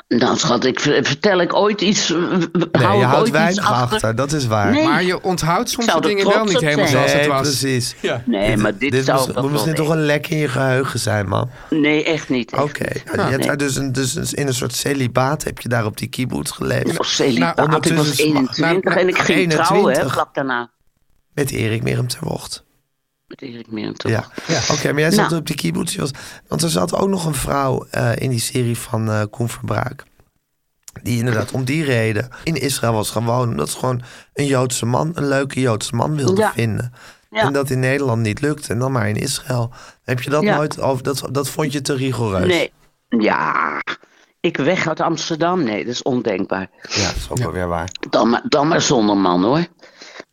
Nou, schat, ik ver- vertel ik ooit iets. Nee,
Nee,
hou
je
ik
houdt
ooit
weinig
iets achter.
achter. dat is waar.
Nee.
Maar je onthoudt soms
Ik zou
de
er
dingen wel
trots
niet
op
helemaal
zijn.
zoals het
Nee,
was.
precies.
Ja.
Nee, maar dit,
Dit
zou
moest,
ik dan
moest
wel
dit toch een lek in je geheugen zijn, man.
weten. Nee, echt niet. echt
Oké.
niet.
Ja, je hebt
nee.
daar dus, een, dus een- in een soort celibaat heb je daar op die kibbutz geleefd.
Of celibaat.
Nou,
ik was
ondertussen-
21
nou,
en ik ging
21.
trouwen, hè, vlak daarna.
Met Erik Merum ter Wocht.
Met Erik Meer toch?
Ja. Oké, maar jij zat
Nou.
op die kibbutz. je was- Want er zat ook nog een vrouw eh, in die serie van eh Koen Verbraak. Die inderdaad om die reden in Israël was gewoon. Omdat ze gewoon een Joodse man, een leuke Joodse man wilde
Ja.
vinden.
Ja.
En dat in Nederland niet lukt. En dan maar in Israël. Heb je dat
Ja.
nooit over? Dat, dat vond je te rigoureus.
Nee. Ja. Ik weg uit Amsterdam. Nee, dat is ondenkbaar.
Ja, dat is ook wel weer waar.
Dan maar, dan maar zonder man hoor.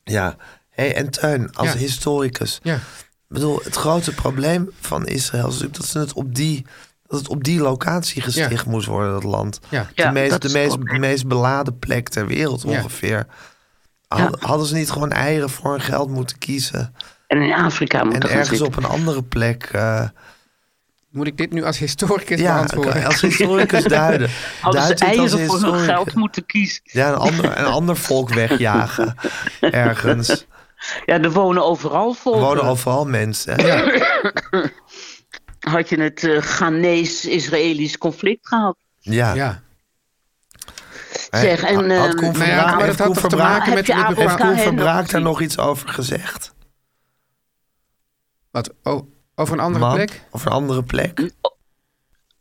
Ja. Hey, en Tuin, als
Ja.
historicus.
Ja.
Ik bedoel, het grote probleem van Israël is natuurlijk dat, ze het, op die, dat het op die locatie gesticht moest worden, dat land.
Ja.
De,
Ja,
meest,
dat
de
is
meest,
ook-
meest beladen plek ter wereld
Ja.
ongeveer. Hadden, hadden ze niet gewoon eieren voor hun geld moeten kiezen?
En in Afrika moet
En
er gaan
ergens
zitten.
op een andere plek. eh,
Moet ik dit nu als historicus
ja,
beantwoorden?
als historicus duiden.
Hadden ze
Duidt dit als
eieren voor hun
historicus.
geld moeten kiezen.
Ja, een ander, een ander volk wegjagen. Ergens.
Ja, er wonen overal
Er
volken.
wonen overal mensen. hè?
Had je het eh Ghanese-Israëlisch conflict gehad?
Ja.
Ja.
Zeg, en,
had- had
ehm,
Koen
Nou ja,
Verbraak,
maar dat
heeft
had
Koen
toch te
Verbraak-
maken met...
Heb je
met
Abraham
heeft Koen
Hen nog
Verbraak daar
gezien?
nog iets over gezegd?
wat, o- over een andere
Man,
plek?
Of een andere plek?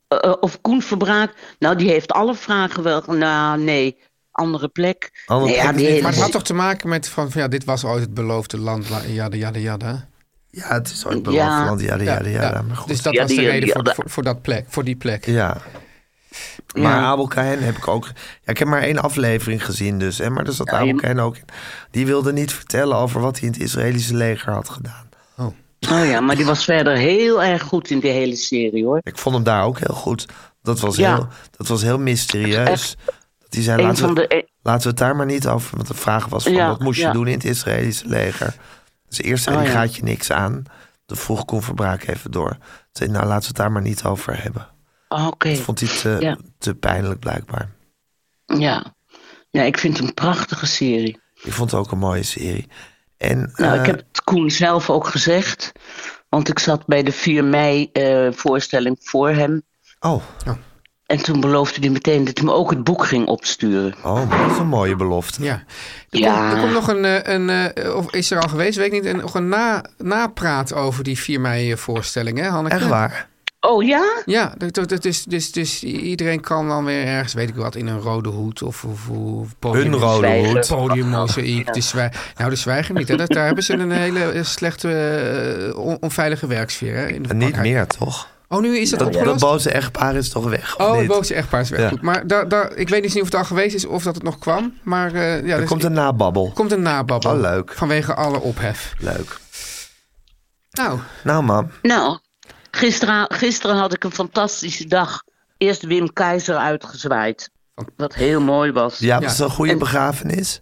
Eh, eh, of Koen Verbraak? Nou, die heeft alle vragen wel. Nou, nee, andere plek.
Andere
nee, ja,
plek is
die
niet
hele-
Maar het had toch te maken met van, van, ja, dit was ooit het beloofde land, la- jada, jada, jada.
Ja, het is ooit
Ja.
beloofd land. Ja, ja, ja,
ja.
Maar goed.
Dus dat
Ja,
was de
die-
reden
die-
voor,
ja,
voor, voor dat plek, voor die plek.
Ja. Maar Abel Cahen heb ik ook... Ja, ik heb maar één aflevering gezien dus. Hè, maar daar zat Abel Cahen ook in. Die wilde niet vertellen over wat hij in het Israëlische leger had gedaan.
Oh ja, maar die was verder heel erg goed in die hele serie hoor.
Ik vond hem daar ook heel goed. Dat was,
Ja.
heel, dat was heel mysterieus. Die zei,
Een
laten
van
we,
de e-
laten we het daar maar niet over. Want de vraag was van,
Ja,
wat moest
ja.
je doen in het Israëlische leger? Dus eerst zei
Oh,
hij,
ja.
gaat je niks aan. Toen vroeg Koen Verbraak even door. Toen zei hij, nou, laten we het daar maar niet over hebben.
Ah, Oké.
Dat vond hij te,
Ja.
te pijnlijk blijkbaar.
Ja. ja, ik vind het een prachtige serie.
Ik vond het ook een mooie serie. En,
Nou,
eh,
ik heb het Koen zelf ook gezegd. Want ik zat bij de 4 mei eh, voorstelling voor hem.
Oh.
En toen beloofde hij meteen dat hij me ook het boek ging opsturen.
Oh, dat is een mooie belofte.
Ja. Er,
Ja.
komt, er komt nog een, eh, een eh, of is er al geweest, weet ik niet, een, nog een na, napraat over die 4 mei eh, voorstelling, hè Hanneke?
Echt waar?
Oh ja?
Ja, dat, dat, dat is, dus, dus iedereen kan dan weer ergens, weet ik wat, in een rode hoed of, of, of podium,
Hun rode Zwijgen. hoed.
podiummozaïek. De zwij- nou, de zwijgen niet. Hè? Dat, daar hebben ze een hele eh, slechte, eh, on- onveilige werksfeer. Hè? In de
En niet
verpakking.
meer, toch?
Oh, nu is dat
Dat, dat
opgelost?
boze echtpaar is toch weg? of
Oh, het
niet?
boze echtpaar is weg.
Ja.
Goed, maar daar daar- ik weet dus niet of het al geweest is of dat het nog kwam. Maar eh, ja,
Er
dus-
komt een nababbel.
komt een nababbel.
Oh, leuk.
Vanwege alle ophef.
Leuk.
Nou,
Nou, mam.
Nou, gisteren, gisteren had ik een fantastische dag. Eerst Wim Keizer uitgezwaaid. Wat heel mooi was.
Ja, was dat een goede
En-
begrafenis?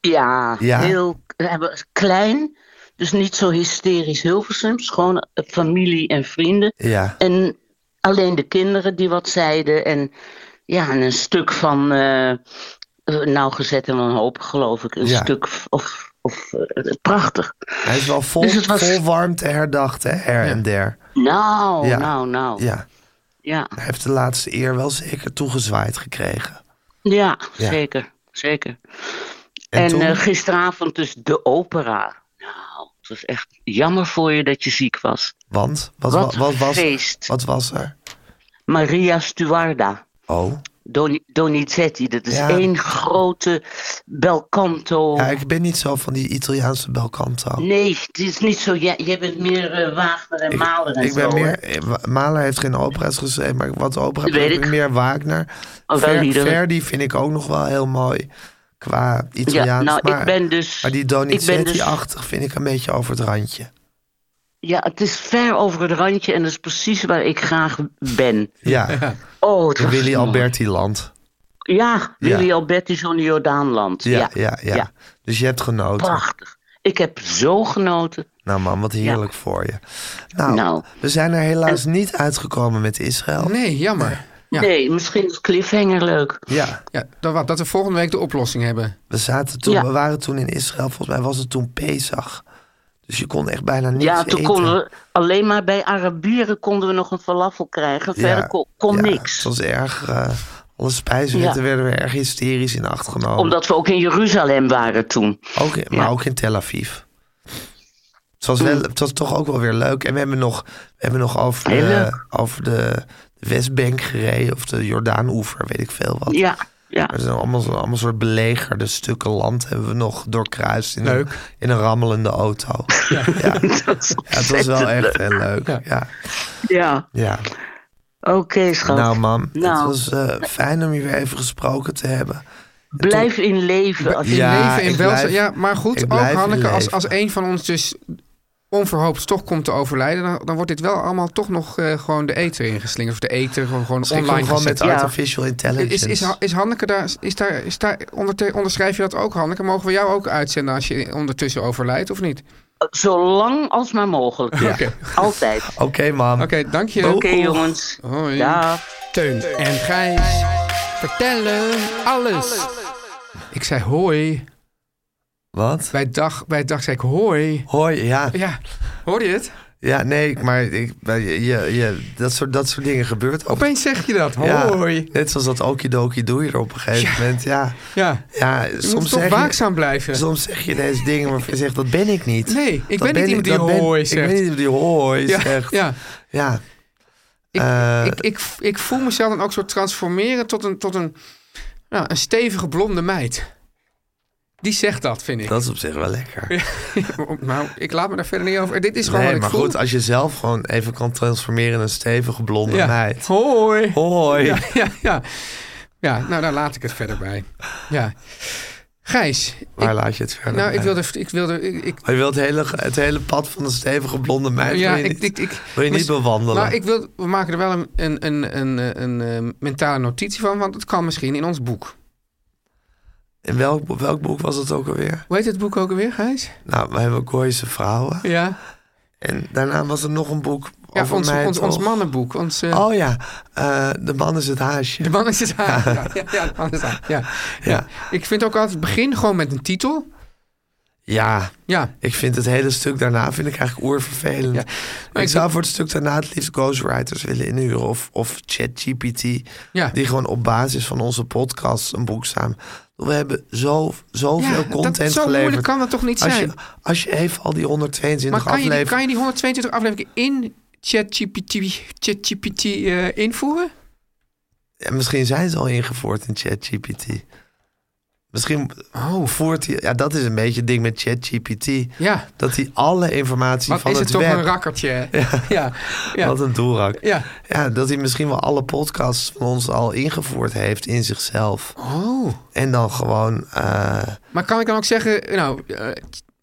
Ja,
Ja.
heel eh, klein. Dus niet zo hysterisch Hilversums. Gewoon eh, familie en vrienden.
Ja.
En alleen de kinderen die wat zeiden. En, ja, en een stuk van eh, eh, nauwgezet en wanhoop, geloof ik. Een
Ja.
stuk f- of, of eh, prachtig.
Hij is wel vol,
Dus het was-
vol warmte herdacht, hè, her en der.
Nou,
Ja.
nou, nou.
Ja.
Ja,
Hij heeft de laatste eer wel zeker toegezwaaid gekregen.
ja,
Ja.
zeker. Zeker.
En
En,
toen?
eh, gisteravond dus de opera. Nou, het was echt jammer voor je dat je ziek was.
Want? Wat,
Wat
wa- wat, was,
feest.
wat was er?
Maria Stuarda.
Oh.
Don- Donizetti, dat is
Ja.
één grote belcanto.
Ja, ik ben niet zo van die Italiaanse belcanto.
Nee, het is niet zo. Jij, jij bent meer eh, Wagner en Mahler en
Oh. ik ben
zo.
meer,
hè?
eh, Wa- Mahler heeft geen opera's geschreven, maar wat opera
Dat weet
ik ben
ik.
meer Wagner.
Oh, wel
Ver,
liederen.
Verdi vind ik ook nog wel heel mooi qua Italiaans.
Ja, nou, ik
maar,
ben dus-
maar die
ik ben dus-
Donizetti-achtig vind ik een beetje over het randje.
Ja, het is ver over het randje en dat is precies waar ik graag ben.
Ja,
Oh, het
in
was
Willy
mooi.
Alberti-land.
Ja,
Ja.
Willy Alberti, zo'n Jordaanland.
Ja, ja, ja, Dus je hebt genoten.
Prachtig. Ik heb zo genoten.
Nou man, wat heerlijk voor je. Nou,
Nou.
we zijn er helaas niet uitgekomen met Israël.
nee, jammer. Ja.
Nee, misschien is Cliffhanger leuk.
Ja,
Ja, dat, wat, dat we volgende week de oplossing hebben.
we, zaten toen,
Ja.
we waren toen in Israël. Volgens mij was het toen Pesach. Dus je kon echt bijna niets
Ja, toen
eten.
konden we alleen maar bij Arabieren konden we nog een falafel krijgen. Verder kon, kon
ja,
niks.
Het was erg. eh, alle spijswetten
Ja.
werden weer erg hysterisch in acht genomen.
Omdat we ook in Jeruzalem waren toen.
Ook in- maar ook in Tel Aviv. Het was, wel, het was toch ook wel weer leuk. En we hebben nog, we hebben nog over,
Heel
de,
leuk.
over de Westbank gereden. Of de Jordaanoever, weet ik veel wat.
Ja, ja.
Er zijn allemaal, zo- allemaal soort belegerde stukken land. Hebben we nog doorkruist in, Een,
Leuk.
in een rammelende auto. Ja. Ja. het was wel echt heel leuk. Ja, ja.
Ja, oké schat.
Nou mam, het
Nou.
was eh, fijn om je weer even gesproken te hebben.
Blijf in leven. Als je
Ja,
Leven in
ik
welzijn.
blijf-
ja, maar
ik
goed, ook
blijf in
Hanneke, als,
leven.
als een van ons dus onverhoopt toch komt te overlijden, dan, dan wordt dit wel allemaal toch nog eh, gewoon de eter ingeslingerd. Of de eter gewoon, gewoon
Misschien
online
gewoon met
gezet.
artificial
Is,
intelligence.
is, is Hanneke daar, is daar, is daar onderte- onderschrijf je dat ook, Hanneke? Mogen we jou ook uitzenden als je ondertussen overlijdt, of niet?
Zo lang als maar mogelijk.
Ja.
Oké.
Altijd.
Oké mam.
Oké, dank je.
Oké jongens.
Hoi.
Dag.
Teun en Gijs vertellen alles. Ik zei hoi.
Wat?
Bij dag, bij dag zei ik hoi.
Hoi, ja.
Ja, hoor je het?
Ja, nee, maar ik, maar je, je, je- dat, soort, dat soort dingen gebeurt ook.
Opeens zeg je dat.
Ja,
Hoi.
net zoals dat okidoki doe je er op een gegeven moment. Ja,
Ja.
ja
Je
soms,
moet toch
zeg
waakzaam
je,
blijven.
soms zeg je deze dingen waarvan je zegt, dat ben ik niet.
Nee, ik ben niet iemand die
dat ben-
hoi
Ik
zegt.
ben niet iemand die hooi
Ja,
zegt.
ja.
Ja,
Ik,
Eh.
ik, ik, ik voel mezelf dan ook zo transformeren tot een, tot een, nou, een stevige blonde meid. Die zegt dat, vind ik.
dat is op zich wel lekker.
Nou, ik laat me daar verder niet over. Dit is gewoon
nee,
wat ik
maar
voel.
goed, als je zelf gewoon even kan transformeren in een stevige blonde
Ja.
meid.
Hoi.
Hoi.
Ja, ja, ja. ja, nou daar laat ik het verder bij. Ja. Gijs,
Waar
ik,
laat je het verder?
nou, ik
bij?
wilde, ik wilde, ik, ik-
Maar je wilt het hele, het hele pad van een stevige blonde meid
Oh ja,
wil je
ik,
niet,
ik, ik,
wil je niet
mis-
bewandelen.
Nou, ik wil, we maken er wel een, een, een, een, een, eh, mentale notitie van, want het kan misschien in ons boek.
In welk, welk boek was dat ook alweer?
Hoe heet het boek ook alweer, Gijs?
Nou, we hebben Gooise Vrouwen.
Ja.
En daarna was er nog een boek
Ja,
over
ons,
mij.
ons,
toch?
ons mannenboek. Ons, eh,
Oh ja, eh, De man is het haasje.
De man is het haar. Ja, ja, ja, de man is het haar. Ja. Ja. Ik vind ook altijd begin gewoon met een titel.
Ja.
Ja.
Ik vind het hele stuk daarna vind ik eigenlijk oervervelend. ik, zou
ik denk-
voor het stuk daarna het liefst ghostwriters willen inhuren. Of, of ChatGPT.
Ja.
Die gewoon op basis van onze podcast een boek samen. We hebben zo,
Ja,
zoveel
dat-
content
zo
geleverd.
moeilijk kan dat toch niet
als
zijn?
Je, als je even al die 122
Maar kan je, die,
afleveringen...
kan je die 122 afleveringen in ChatGPT ChatGPT eh, invoeren?
Ja, misschien zijn ze al ingevoerd in ChatGPT. Misschien
Oh.
voert hij... Ja, dat is een beetje het ding met ChatGPT.
Ja.
Dat hij alle informatie
Wat
van
is
het
het toch
web...
een rakkertje? hè? Ja. ja.
Wat een doelrak.
Ja.
dat hij misschien wel alle podcasts van ons al ingevoerd heeft in zichzelf.
Oh.
En dan gewoon... eh,
Maar kan ik dan ook zeggen, nou, eh,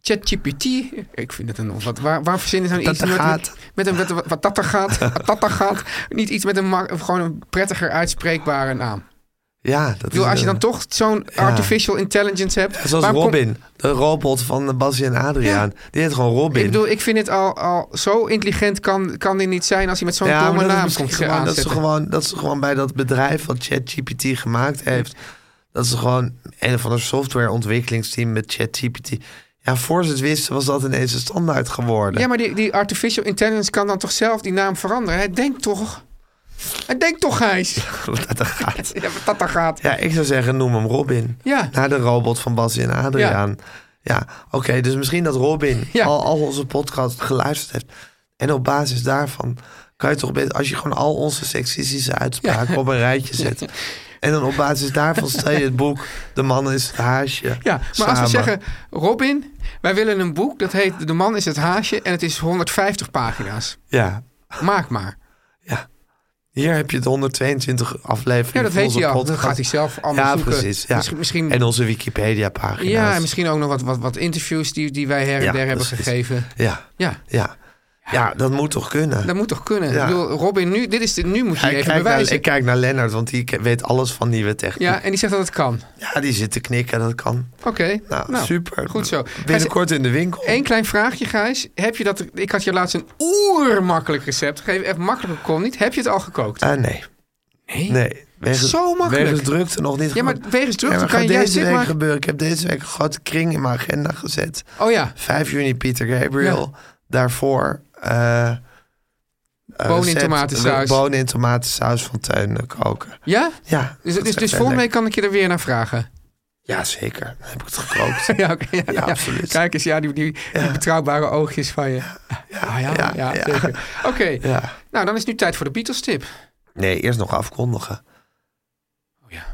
ChatGPT, ik vind het een onzin. Waar, waar verzinnen ze nou
Dat
iets
er
met,
gaat.
met een met, een- wat dat er gaat, wat dat er gaat, niet iets met een mak- of gewoon een prettiger uitspreekbare naam.
ja,
Ik
dat
bedoel,
is
als je
een-
dan toch zo'n
Ja.
artificial intelligence hebt.
Zoals
waarom kom-
Robin, de robot van Basie en Adriaan. Die heet gewoon Robin.
Ik bedoel, ik vind het al, al zo intelligent kan, kan dit niet zijn als hij met zo'n
maar
domme
dat is
naam
misschien
komt ze
gewoon, dat ze
aanzetten.
gewoon Dat ze gewoon bij dat bedrijf wat ChatGPT gemaakt heeft... dat ze gewoon een of ander softwareontwikkelingsteam met ChatGPT... Ja, voor ze het wisten was dat ineens een standaard geworden.
Ja, maar die, die artificial intelligence kan dan toch zelf die naam veranderen? Hij denkt toch... Hij denkt toch, Gijs?
Dat er gaat.
Ja, wat dat dan gaat.
Ja, ik zou zeggen, noem hem Robin.
Ja.
Naar de robot van Basie en Adriaan. Ja, oké, dus misschien dat Robin al, al onze podcast geluisterd heeft. En op basis daarvan kan je toch beter... als je gewoon al onze seksistische uitspraken op een rijtje zet... en dan op basis daarvan stel je het boek... De man is het haasje.
Ja, maar als we zeggen, Robin, wij willen een boek dat heet De man is het haasje en het is 150 pagina's.
Ja,
Maak maar.
hier heb je de 122 aflevering
Ja, dat
van
weet
onze
hij al. Dan
podcast.
gaat hij zelf allemaal
ja,
zoeken.
Precies, ja,
Misschien- misschien-
En onze Wikipedia-pagina's.
Ja, en misschien ook nog wat, wat, wat interviews die, die wij her en
Ja,
der hebben
precies.
gegeven.
Ja,
Ja,
ja. Ja, dat moet toch kunnen?
dat moet toch kunnen?
Ja.
Ik bedoel, Robin, nu, dit is de, nu moet je
Ja, ik,
even
kijk naar,
bewijzen.
ik kijk naar Lennart, want die ke- weet alles van nieuwe techniek.
Ja,
Ja,
en die zegt dat het kan.
die zit te knikken, dat kan.
Oké,
Nou,
nou,
super.
Goed zo.
Binnenkort in de winkel.
Eén klein vraagje, Gijs. Heb je dat, ik had je laatst een oermakkelijk recept gegeven. Even makkelijker kon niet. Heb je het al gekookt?
Ah, nee.
Nee.
Nee. Wegens,
Zo makkelijk.
Wegens drukte nog niet.
Ja, maar
gemaakt.
wegens drukte
Ja, maar
kan
gaat
je juist
deze
dit
week
maken.
gebeuren. Ik heb deze week een grote kring in mijn agenda gezet.
Oh ja,
5 juni Pieter Gabriel. Daarvoor... eh,
Bonen in
recept-
tomatensaus.
Bonen in tomatensaus van Tuin eh, koken.
Ja?
Ja.
Dus,
dat zijn
dus, dus volgende
lekker.
week kan ik je er weer naar vragen.
Ja, zeker. Dan heb ik het gekookt.
ja, oké, ja, ja.
absoluut.
Kijk eens, ja, die, die, die betrouwbare oogjes van je. Ah, ja, ja,
ja.
zeker. Oké,
ja.
nou dan is het nu tijd voor de Beatles-tip.
Nee, eerst nog afkondigen.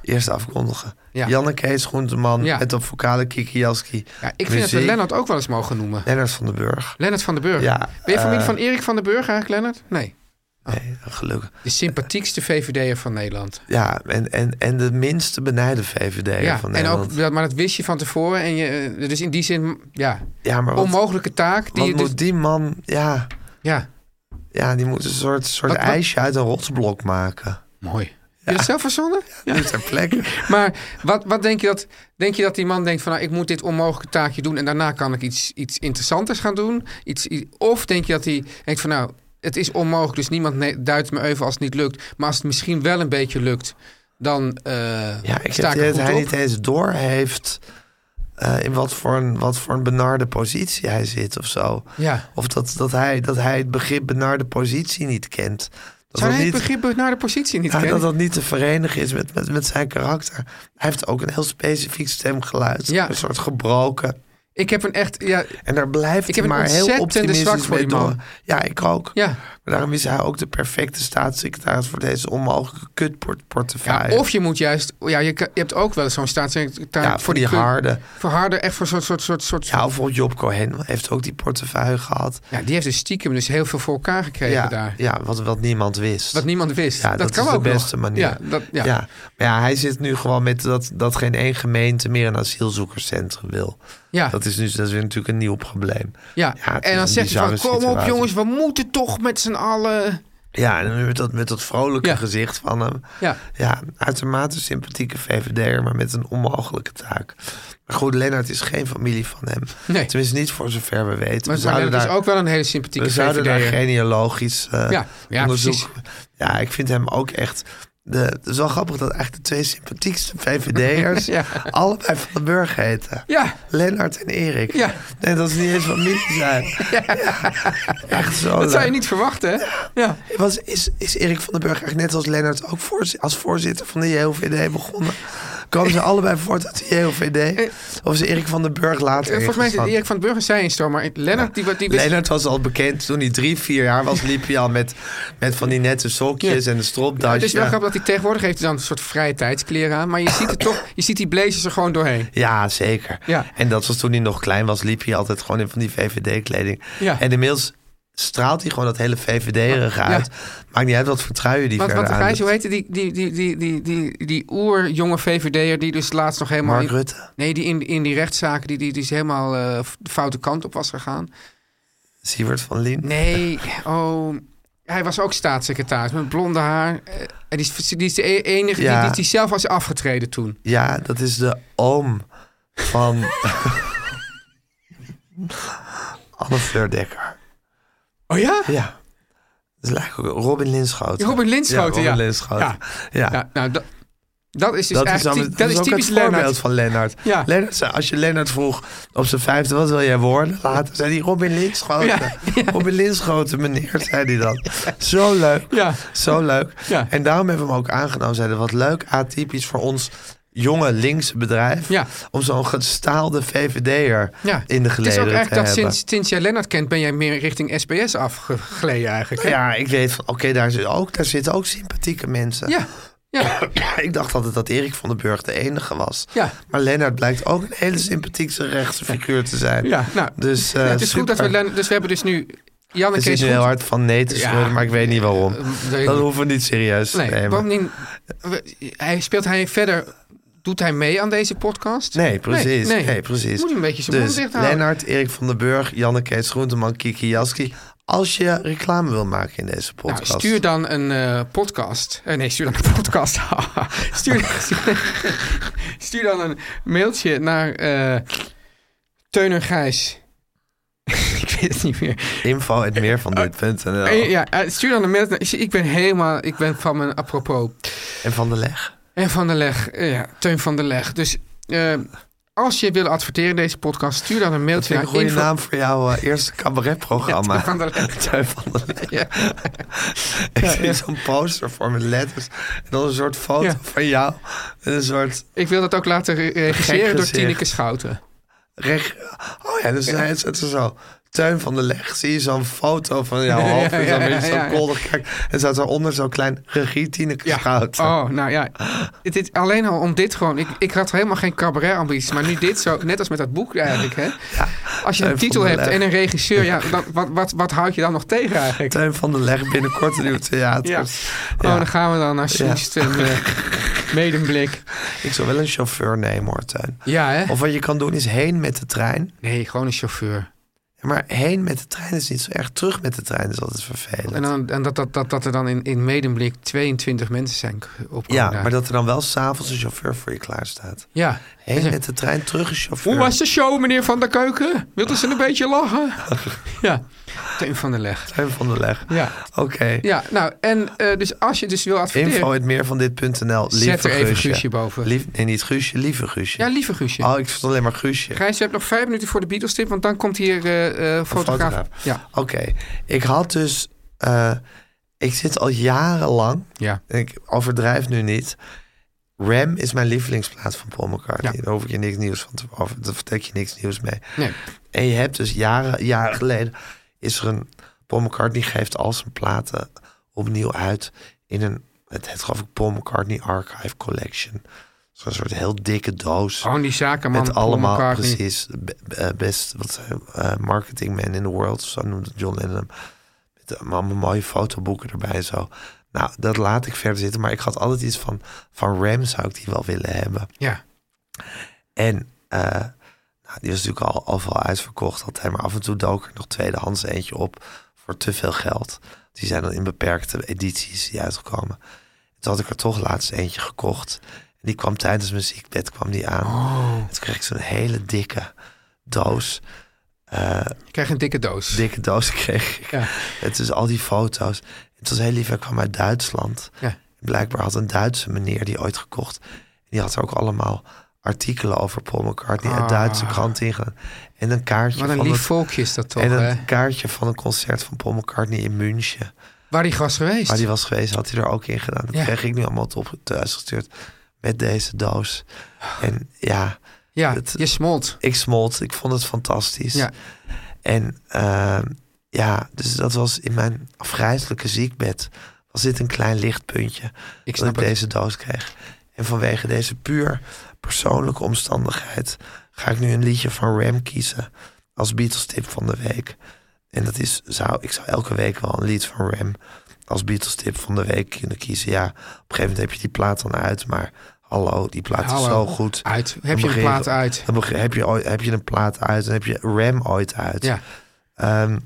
Eerst afkondigen.
Ja.
Janne Kees, Groenteman,
Ja.
het op vocale Kiki Jaski.
Ja, ik vind dat we Lennart ook wel eens mogen noemen.
Lennart van den Burg.
Lennart van den Burg.
Ja,
ben je familie
eh,
van Erik van den Burg eigenlijk, Lennart? Nee.
Nee, gelukkig.
De sympathiekste VVD'er van Nederland.
Ja, en, en, en de minste benijde VVD
Ja,
van
en
Nederland.
ook, dat- maar dat wist je van tevoren. En je, eh, dus in die zin, ja,
ja, maar wat,
onmogelijke taak. Die
wat
je dus-
moet die man... Ja,
ja,
ja, die moet een soort, soort
Wat- wat-
ijsje uit een rotsblok maken.
mooi. Heb je dat zelf verzonnen?
Ja. Nu ter plekke.
Maar wat, wat denk, je dat, denk je dat die man denkt van... Nou, ik moet dit onmogelijke taakje doen... en daarna kan ik iets, iets interessanters gaan doen? Iets, i- of denk je dat hij denkt van... nou, het is onmogelijk, dus niemand ne- duidt me even als het niet lukt. Maar als het misschien wel een beetje lukt... dan eh
Ja, ik
sta
heb het
ik
idee
er
dat hij
goed op.
niet eens door heeft... eh, in wat voor, een, wat voor een benarde positie hij zit of zo.
Ja.
Of dat, dat, hij, dat hij het begrip benarde positie niet kent. Dat
Zou
dat
hij
niet,
het begrip naar de positie niet
ja,
kennen?
dat dat niet te verenigen is met, met, met zijn karakter. Hij heeft ook een heel specifiek stemgeluid.
Ja.
Een soort gebroken.
Ik heb een echt... Ja,
En daar blijft
Ik
hij
heb een
maar heel
ontzettende zwak
optimistisch
voor
mee
die man.
door. Ja, ik ook.
Ja.
Maar daarom is hij ook de perfecte staatssecretaris... voor deze onmogelijke
Ja,
kutportefeuille.
of je moet juist... Ja, je, kan- je hebt ook wel eens zo'n staatssecretaris...
Ja, voor die
kun-
harde.
Voor harde, echt voor zo'n soort... soort, soort
Ja, of Job Cohen heeft ook die portefeuille gehad.
ja, die heeft dus stiekem dus heel veel voor elkaar gekregen
Ja,
daar.
ja wat, wat niemand wist.
Wat niemand wist.
Ja,
dat,
dat,
kan
is
ook
de beste
nog.
manier.
Ja, dat, ja.
Maar ja, hij zit nu gewoon met dat, dat geen één gemeente meer een asielzoekerscentrum wil.
Ja.
Dat is nu dat is weer natuurlijk een nieuw probleem.
Ja,
het is
en dan
een
zegt hij van,
bizarre
kom op
situatie.
jongens, we moeten toch met z'n allen...
Ja, en dan met dat, met dat vrolijke gezicht van hem.
Ja.
ja, uitermate sympathieke VVD'er, maar met een onmogelijke taak. Maar goed, Lennart is geen familie van hem.
Nee.
Tenminste, niet voor zover we weten.
Maar
we zouden
Lennart is
daar-
ook wel een hele sympathieke
We zouden daar
VVD'er.
genealogisch eh,
Ja, ja,
onderzoek...
precies.
Ja, ik vind hem ook echt... De, het is wel grappig dat eigenlijk de twee sympathiekste VVD'ers...
Ja.
allebei van de Burg heten.
Ja.
Lennart en Erik.
Ja.
Nee, dat is niet eens familie zijn. Ja. Echt zo
Dat zou je
leuk.
niet verwachten, hè? Ja.
Was, is, is Erik van den Burg eigenlijk net als Lennart ook voorzi- als voorzitter van de JOVD begonnen? Komen ze allebei voort uit de JOVD? Of is Erik van den Burg later
Eh, Volgens mij is
ingestapt?
Erik van den Burger zij instroom, maar Lennart, die, die wist...
Lennart was al bekend toen hij drie, vier jaar was. Liep hij al met, met van die nette sokjes en een
Ja, het
stropdasje.
is wel grappig dat hij tegenwoordig heeft hij dan een soort vrije tijdskleren aan. Maar je ziet, het toch, je ziet die blazers er gewoon doorheen.
Ja, zeker.
Ja.
En dat was toen hij nog klein was, liep hij altijd gewoon in van die VVD-kleding.
Ja.
En inmiddels straalt hij gewoon dat hele
eh,
VVD-erige
Ja.
uit. Maakt niet uit wat voor truien die
Want,
verder
want
aan
hij, hoe heette die, die, die, die, die, die, die oerjonge VVD'er die dus laatst nog helemaal...
Mark
in-
Rutte.
Nee, die in, in die rechtszaken, die, die, die is helemaal eh, de foute kant op was gegaan.
Siewert van Lien.
Nee, oh... Hij was ook staatssecretaris met blonde haar. Eh, En die is, die is de e- enige die-
Ja.
die, die, zelf was afgetreden toen.
Ja, dat is de oom van Anne Fleur-Dekker.
Oh ja?
Ja. Dat is eigenlijk ook Robin Linschoten.
Robin Linschoten, ja.
Robin Linschoten. Ja.
Ja, nou, dat, dat is dus
dat is,
eigenlijk
dan-
ty-
dat
dat
is
is
ook
typisch
het voorbeeld
Lennart.
van Lennart.
Ja.
Lennart zei, als je Lennart vroeg op zijn vijfde, wat wil jij worden? Later zei hij Robin Linschoten.
Ja,
Robin Linschoten, meneer, zei hij dan. Zo leuk.
Ja.
Zo leuk.
Ja.
En daarom hebben we hem ook aangenomen. Zeiden, wat leuk, atypisch voor ons jonge linkse bedrijf.
Ja.
Om zo'n gestaalde VVD'er
Ja.
in de
Het is
gelederen
ook
te
eigenlijk dat
hebben.
sinds, sinds jij Lennart kent, ben jij meer richting SBS afgegleden eigenlijk. hè?
Ja, ik weet van, oké, daar, zit ook- daar zitten ook sympathieke mensen.
Ja, ja.
ik dacht altijd dat Erik van den Burg de enige was.
Ja.
Maar Lennart blijkt ook een hele sympathieke rechtse figuur te zijn.
Ja, nou,
dus, eh,
Ja, het is goed dat we
super.
Lennart, dus we hebben dus nu Jan en
Het
Kees
is nu
goed.
heel hard van nee te
Ja.
schudden, maar ik weet niet waarom.
weet ik
dat
niet.
hoeven we niet serieus te
Nee,
nemen.
bovendien, we- hij speelt hij verder, doet hij mee aan deze podcast?
Nee, precies.
Nee,
Nee,
nee.
precies.
Moet hij een beetje zijn mond
dus
dicht houden.
Lennart, Erik van den Burg, Janne Kees Groenteman, Kiki Jaski. Als je reclame wil maken in deze
Nou,
podcast.
stuur dan een eh, podcast. Eh, nee, stuur dan een podcast. stuur, stuur, stuur dan een mailtje naar eh Teun en Gijs. ik weet het niet meer.
Info at meer van dit.nl.
Eh, ja, eh, stuur dan een mail. naar- Ik ben helemaal, ik ben van mijn apropos.
En van de leg.
En Van der Leg, eh, ja, Teun van der Leg. Dus eh, als je wil adverteren in deze podcast, stuur dan een
Dat
mailtje
vind ik een
naar
goede
info-
naam voor jouw eh, eerste cabaretprogramma.
Ja, Teun van der Leg.
Teun van der Leg.
Ja.
Ik
Ja,
zie
ja.
zo'n poster voor met letters. En dan een soort foto
Ja.
van jou. En een soort...
Ik wil dat ook laten re- regisseren door
gezicht.
Tineke Schouten.
Reg... Oh ja, dus hij zet er zo... Teun van der Leg. Zie je zo'n foto van jouw hoofd.
Ja, ja,
en Nou, dan
ja,
ben je
ja, ja.
zo kolder. Kijk, en staat daaronder zo'n klein regie Tineke
Ja.
Schouten.
Oh, nou ja. Het is alleen al om dit gewoon... Ik, ik had helemaal geen cabaret-ambities, maar nu dit zo... Net als met dat boek eigenlijk, hè. Als je een
Teun van
titel
der
hebt
Leg.
en een regisseur, ja, dan, wat, wat, wat houd je dan nog tegen eigenlijk?
Teun van der Leg binnenkort in uw theater.
Ja. Oh, dan gaan we dan naar Soest en eh, Medemblik.
Ik zou wel een chauffeur nemen hoor, Teun.
Ja, hè?
Of wat je kan doen is heen met de trein.
Nee, gewoon een chauffeur.
Ja, Maar heen met de trein is niet zo erg. Terug met de trein is altijd vervelend.
En, dan, en dat, dat, dat, dat er dan in, in Medemblik 22 mensen zijn op.
ja, maar dat er dan wel s'avonds een chauffeur voor je klaar staat.
Ja.
Heen met de trein, terug een chauffeur.
Hoe was de show, meneer Van der Keuken? Wilt u ze een beetje lachen? ja. Teun van der Leg.
Teun van der Leg.
Ja.
Oké.
Ja, nou, en eh, dus als je dus wil adverteren...
Oh. Info het meer van dit.nl.
Zet
Lieve
er even Guusje boven.
Lief, nee, niet Guusje, lieve Guusje.
Ja, lieve Guusje.
Oh, ik vond alleen maar Guusje.
Gijs, je hebt nog vijf minuten voor de Beatles tip, want dan komt hier eh, eh, fotograaf.
fotograaf.
Ja.
Oké, ik had dus. eh, ik zit al jarenlang.
Ja.
en Ik overdrijf nu niet. Ram is mijn lievelingsplaats van Paul McCartney. Daar hoef ik je niks nieuws van te over. Daar vertel ik je niks nieuws mee.
Nee.
En je hebt dus jaren, jaren geleden. Is er een. Paul McCartney geeft al zijn platen opnieuw uit. In een. Het heet geloof ik Paul McCartney Archive Collection. Zo'n soort heel dikke doos.
Gewoon die zaken, man.
Met allemaal
elkaar
precies be- eh, best wat zei, eh, marketing man in the world, zo noemde John Lennon. hem. Met eh, allemaal mooie fotoboeken erbij en zo. Nou, dat laat ik verder zitten, maar ik had altijd iets van van Ram zou ik die wel willen hebben.
Ja.
En eh, nou, die was natuurlijk al, al wel uitverkocht altijd, maar af en toe dook er nog tweedehands eentje op voor te veel geld. Die zijn dan in beperkte edities die uitgekomen. Toen had ik er toch laatst eentje gekocht. En die kwam tijdens mijn ziekbed kwam die aan.
Oh.
En Toen kreeg ik zo'n hele dikke doos. Eh,
ik kreeg een dikke doos.
Dikke doos kreeg ik. Het is al die foto's. Het was heel lief, hij kwam uit Duitsland.
Ja.
Blijkbaar had een Duitse meneer die ooit gekocht. Die had er ook allemaal artikelen over Paul McCartney uit
Ah.
Duitse kranten ingedaan. En een kaartje
Wat een
van
lief
het-
volkje is dat toch,
En een
hè?
kaartje van een concert van Paul McCartney in München.
Waar die was geweest.
Waar die was geweest, had hij er ook in gedaan. Dat
Ja.
kreeg ik nu allemaal op thuis gestuurd met deze doos. En ja,
Ja, je smolt.
Ik smolt, ik vond het fantastisch.
Ja.
En eh, ja, dus dat was in mijn afgrijzelijke ziekbed. Was dit een klein lichtpuntje
Ik
dat
snap
ik
het.
deze doos kreeg. En vanwege deze puur persoonlijke omstandigheid ga ik nu een liedje van Ram kiezen als Beatles tip van de week. En dat is, zou, ik zou elke week wel een lied van Ram als Beatles tip van de week kunnen kiezen. Ja, op een gegeven moment heb je die plaat dan uit, maar hallo, die plaat is
Hallo,
zo goed.
uit. Heb
Dan
je een
begin
plaat uit?
Dan begin- heb, je, ooit- heb je een plaat uit, dan heb je Ram ooit uit.
Ja.
Ehm,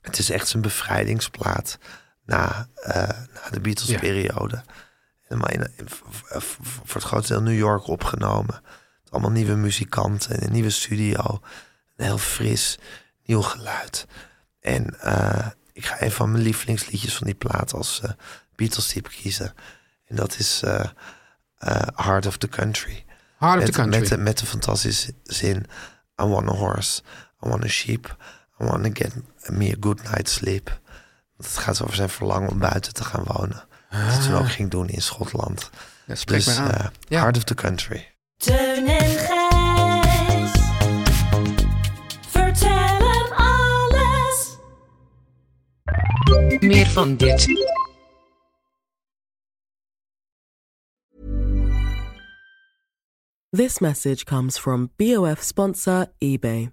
het is echt zijn bevrijdingsplaat na, eh, na de Beatles-periode. Helemaal in, in- v- v- voor het grootste deel New York opgenomen. Met allemaal nieuwe muzikanten en een nieuwe studio. Een heel fris, nieuw geluid. En eh, ik ga een van mijn lievelingsliedjes van die plaat als eh, Beatles-tip kiezen. En dat is eh, eh, Heart of the Country.
Heart of
met,
the Country.
Met, de- met de fantastische zin... I want a horse, I want a sheep... I want to get me a good night's sleep. Want het gaat over zijn verlangen om buiten te gaan wonen. Wat hij toen ook ging doen in Schotland.
Ja, spreek
dus
mij aan.
eh, Heart of the Country.
Teun en Gijs. Vertel hem alles.
Meer van dit.
This message comes from BOF sponsor eBay.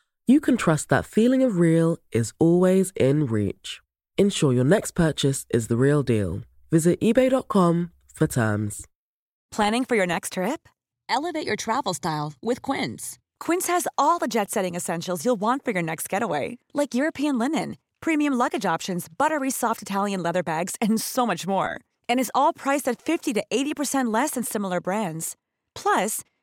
you can trust that feeling of real is always in reach. Ensure your next purchase is the real deal. Visit eBay.com for terms.
Planning for your next trip? Elevate your travel style with Quince. Quince has all the jet setting essentials you'll want for your next getaway, like European linen, premium luggage options, buttery soft Italian leather bags, and so much more. And is all priced at 50 to 80% less than similar brands. Plus,